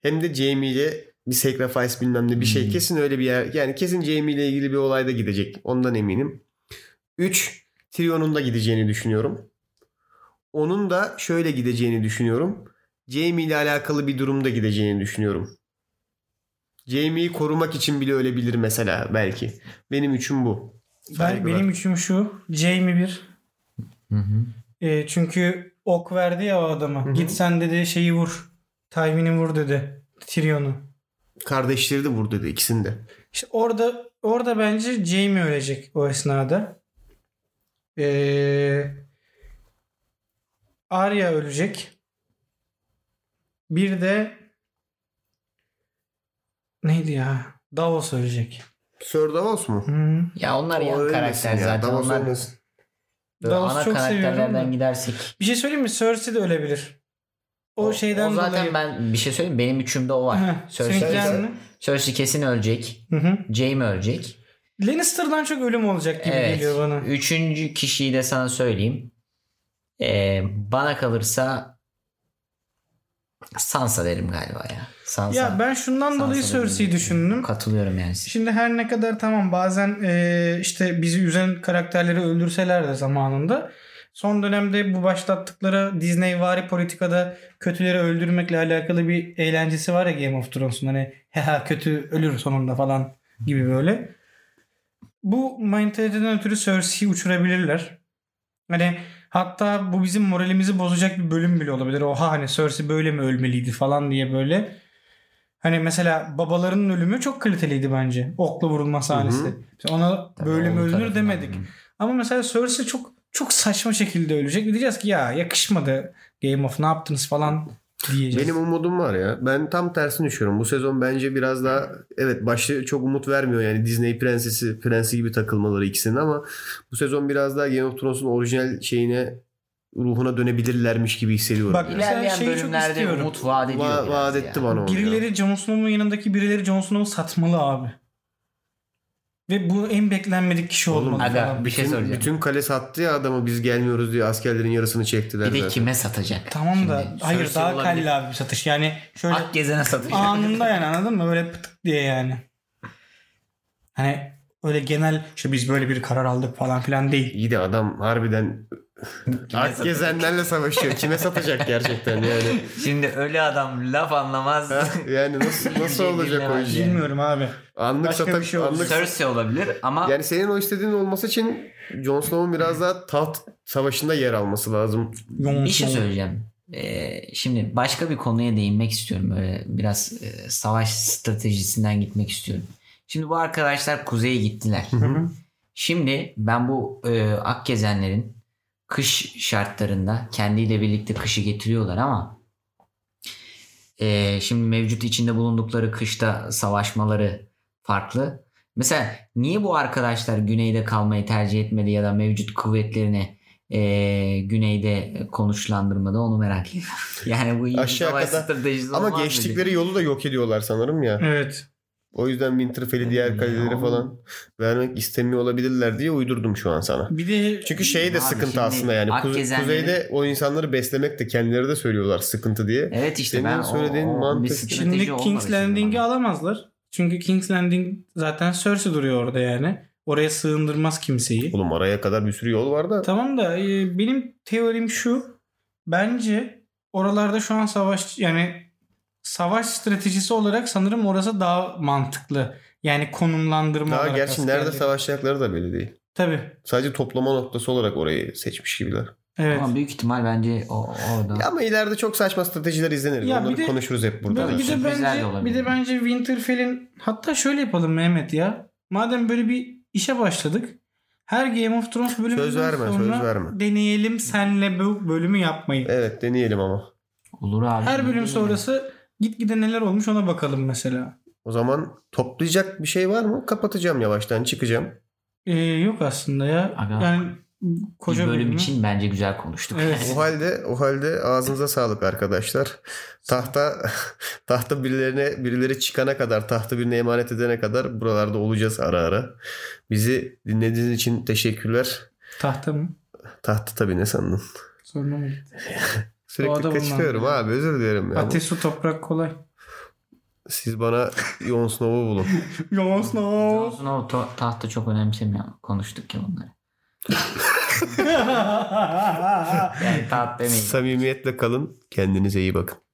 Speaker 2: Hem de Jaime ile bir sacrifice bilmem ne bir şey.
Speaker 3: Hmm.
Speaker 2: Kesin öyle bir yer. Yani kesin Jaime ile ilgili bir olayda gidecek. Ondan eminim. 3. Tyrion'un da gideceğini düşünüyorum. Onun da şöyle gideceğini düşünüyorum. Jaime ile alakalı bir durumda gideceğini düşünüyorum. Jaime'yi korumak için bile ölebilir mesela belki. Benim üçüm bu.
Speaker 4: Ben,
Speaker 2: Saygılar.
Speaker 4: benim üçüm şu. Jaime bir.
Speaker 3: Hı hı.
Speaker 4: E, çünkü ok verdi ya o adama.
Speaker 2: Hı hı.
Speaker 4: Git sen dedi şeyi vur. Tywin'i vur dedi. Tyrion'u.
Speaker 2: Kardeşleri de burada dedi ikisini de.
Speaker 4: İşte orada orada bence Jaime ölecek o esnada. Ee, Arya ölecek. Bir de neydi ya? Davos ölecek. Hmm.
Speaker 2: Sir Davos mu?
Speaker 4: Hı.
Speaker 3: Ya onlar
Speaker 2: O
Speaker 3: yan
Speaker 2: ölmesin
Speaker 3: karakter
Speaker 2: ya,
Speaker 3: zaten.
Speaker 2: Davos
Speaker 3: onlar
Speaker 2: ölmesin.
Speaker 3: böyle
Speaker 4: Davos'u
Speaker 3: ana
Speaker 4: çok seviyorum
Speaker 3: karakterlerden
Speaker 4: da.
Speaker 3: gidersek.
Speaker 4: Bir şey söyleyeyim mi? Cersei de ölebilir. O, şeyden
Speaker 3: o zaten
Speaker 4: dolayı.
Speaker 3: ben bir şey söyleyeyim mi? benim üçümde o var.
Speaker 4: Heh,
Speaker 3: Cersei,
Speaker 4: seninkiler
Speaker 2: Cersei.
Speaker 4: mi?
Speaker 3: Cersei kesin ölecek.
Speaker 4: Hı hı.
Speaker 3: Jaime ölecek.
Speaker 4: Lannister'dan çok ölüm olacak gibi
Speaker 3: evet.
Speaker 4: geliyor bana.
Speaker 3: Üçüncü kişiyi de sana söyleyeyim. Ee, bana kalırsa Sansa derim galiba ya. Sansa.
Speaker 4: Ya ben şundan
Speaker 3: Sansa
Speaker 4: dolayı
Speaker 3: derim.
Speaker 4: Cersei'yi düşündüm.
Speaker 3: Katılıyorum yani. size.
Speaker 4: Şimdi her ne kadar tamam bazen e, işte bizi üzen karakterleri öldürseler de zamanında son dönemde bu başlattıkları Disney vari politikada kötüleri öldürmekle alakalı bir eğlencesi var ya Game of Thrones'un hani ha kötü ölür sonunda falan gibi böyle. Bu mentaliteden ötürü Cersei'yi uçurabilirler. Hani hatta bu bizim moralimizi bozacak bir bölüm bile olabilir. Oha hani Cersei böyle mi ölmeliydi falan diye böyle. Hani mesela babalarının ölümü çok kaliteliydi bence. Okla vurulma sahnesi.
Speaker 2: Hı hı.
Speaker 4: Biz Ona
Speaker 3: Tabii
Speaker 4: böyle mi
Speaker 3: onun
Speaker 4: ölünür
Speaker 3: tarafından.
Speaker 4: demedik. Ama mesela Cersei çok çok saçma şekilde ölecek. Diyeceğiz ki ya yakışmadı Game of ne yaptınız falan diyeceğiz.
Speaker 2: Benim umudum var ya. Ben tam tersini düşünüyorum. Bu sezon bence biraz daha evet başta çok umut vermiyor yani Disney prensesi prensi gibi takılmaları ikisinin ama bu sezon biraz daha Game of Thrones'un orijinal şeyine ruhuna dönebilirlermiş gibi hissediyorum.
Speaker 4: Bak,
Speaker 2: yani.
Speaker 4: Mesela
Speaker 3: İlerleyen
Speaker 4: şeyi çok
Speaker 3: bölümlerde
Speaker 4: istiyorum.
Speaker 3: umut vaat ediyor.
Speaker 2: Va-
Speaker 3: biraz
Speaker 2: vaat
Speaker 3: ya.
Speaker 2: etti bana onu. ya.
Speaker 4: Birileri Jon Snow'un yanındaki birileri Jon Snow'u satmalı abi. Ve bu en beklenmedik kişi
Speaker 2: Oğlum,
Speaker 4: olmalı.
Speaker 3: aga,
Speaker 4: falan.
Speaker 3: bir şey
Speaker 2: Bütün-
Speaker 3: soracağım.
Speaker 2: Bütün kale sattı ya adamı biz gelmiyoruz diye askerlerin yarısını çektiler.
Speaker 3: Bir de
Speaker 2: zaten.
Speaker 3: kime satacak?
Speaker 4: Tamam da
Speaker 3: Şimdi
Speaker 4: hayır
Speaker 3: Cersei
Speaker 4: daha
Speaker 3: olabilir.
Speaker 4: kalli abi bir satış. Yani şöyle
Speaker 3: Akgezen'e satacak.
Speaker 4: anında yani anladın mı? Böyle pıtık diye yani. Hani öyle genel işte biz böyle bir karar aldık falan filan değil.
Speaker 2: İyi de adam harbiden Ak gezenlerle savaşıyor. Kime satacak gerçekten yani?
Speaker 3: Şimdi ölü adam laf anlamaz.
Speaker 2: Ha, yani nasıl nasıl olacak o iş?
Speaker 3: Yani.
Speaker 4: Bilmiyorum abi.
Speaker 2: Anlık
Speaker 4: Başka bir
Speaker 2: satak,
Speaker 4: şey oldu.
Speaker 2: anlık
Speaker 3: Cersei olabilir ama
Speaker 2: Yani senin o istediğin olması için Jon Snow'un biraz daha taht savaşında yer alması lazım.
Speaker 4: Jon
Speaker 3: bir şey
Speaker 4: Snow.
Speaker 3: söyleyeceğim. Ee, şimdi başka bir konuya değinmek istiyorum. Böyle biraz e, savaş stratejisinden gitmek istiyorum. Şimdi bu arkadaşlar kuzeye gittiler.
Speaker 4: hı.
Speaker 3: şimdi ben bu e, Akgezenlerin kış şartlarında kendiyle birlikte kışı getiriyorlar ama e, şimdi mevcut içinde bulundukları kışta savaşmaları farklı. Mesela niye bu arkadaşlar güneyde kalmayı tercih etmedi ya da mevcut kuvvetlerini e, güneyde konuşlandırmadı onu merak ediyorum. yani bu iyi bir
Speaker 2: Aşağı
Speaker 3: savaş
Speaker 2: kadar-
Speaker 3: stratejisi
Speaker 2: Ama
Speaker 3: olmaz mıydı?
Speaker 2: geçtikleri yolu da yok ediyorlar sanırım ya.
Speaker 4: Evet.
Speaker 2: O yüzden
Speaker 4: Hmm,
Speaker 2: Winterfell'i diğer kalelere falan vermek istemiyor olabilirler diye uydurdum şu an sana.
Speaker 4: Bir de
Speaker 2: Çünkü şey de
Speaker 3: Abi
Speaker 2: sıkıntı
Speaker 3: şimdi
Speaker 2: aslında yani. Kuze-
Speaker 3: Akgezenlerin-
Speaker 2: Kuzeyde o insanları beslemek de kendileri de söylüyorlar sıkıntı diye.
Speaker 3: Evet işte
Speaker 2: Senin
Speaker 3: ben o-
Speaker 2: söylediğin
Speaker 3: o,
Speaker 2: mantık-
Speaker 3: bir
Speaker 2: Şimdi
Speaker 3: strateji
Speaker 4: Şimdi
Speaker 3: olmadı
Speaker 4: King's
Speaker 3: şimdi bana.
Speaker 4: Landing'i alamazlar. Çünkü King's Landing zaten Cersei duruyor orada yani. Oraya sığındırmaz kimseyi.
Speaker 2: Oğlum araya kadar bir sürü yol var da.
Speaker 4: Tamam da e, benim teorim şu. Bence oralarda şu an savaş yani savaş stratejisi olarak sanırım orası daha mantıklı. Yani konumlandırma
Speaker 2: Daha
Speaker 4: olarak.
Speaker 2: gerçi nerede
Speaker 4: askerlik.
Speaker 2: savaşacakları da belli değil.
Speaker 4: Tabii.
Speaker 2: Sadece toplama noktası olarak orayı seçmiş gibiler.
Speaker 4: Evet.
Speaker 3: Ama büyük ihtimal bence o, orada.
Speaker 2: Ya Ama ileride çok saçma stratejiler izlenir.
Speaker 4: Ya
Speaker 2: Onları
Speaker 4: bir de-
Speaker 2: konuşuruz hep burada.
Speaker 4: bir,
Speaker 2: da.
Speaker 4: de
Speaker 3: Sürprizler de
Speaker 4: bence, bir
Speaker 3: olabilir.
Speaker 4: de bence Winterfell'in hatta şöyle yapalım Mehmet ya. Madem böyle bir işe başladık. Her Game of Thrones bölümünden
Speaker 2: Söz verme,
Speaker 4: sonra
Speaker 2: söz verme.
Speaker 4: deneyelim senle bu bölümü yapmayı.
Speaker 2: Evet deneyelim ama.
Speaker 3: Olur abi.
Speaker 4: Her bölüm
Speaker 3: Bilmiyorum.
Speaker 4: sonrası gitgide neler olmuş ona bakalım mesela.
Speaker 2: O zaman toplayacak bir şey var mı? Kapatacağım yavaştan çıkacağım.
Speaker 4: Ee, yok aslında ya.
Speaker 3: Aga.
Speaker 4: Yani koca
Speaker 3: bir bölüm
Speaker 4: bölümü-
Speaker 3: için bence güzel konuştuk.
Speaker 4: Evet.
Speaker 2: O halde o halde ağzınıza sağlık arkadaşlar. Tahta tahta birilerine birileri çıkana kadar tahta birine emanet edene kadar buralarda olacağız ara ara. Bizi dinlediğiniz için teşekkürler.
Speaker 4: Tahta mı?
Speaker 2: Tahta tabii ne sandın?
Speaker 4: Sorun olmadı. Doğada
Speaker 2: Sürekli
Speaker 4: bulunan-
Speaker 2: kaçırıyorum abi özür dilerim ya.
Speaker 4: Ateş, su, toprak kolay.
Speaker 2: Siz bana Jon Snow'u bulun.
Speaker 4: Jon Snow.
Speaker 3: Olsun o to- tahta çok önemsemiyor. Konuştuk ya bunları. Yani taht demeyin.
Speaker 2: Samimiyetle kalın. Kendinize iyi bakın.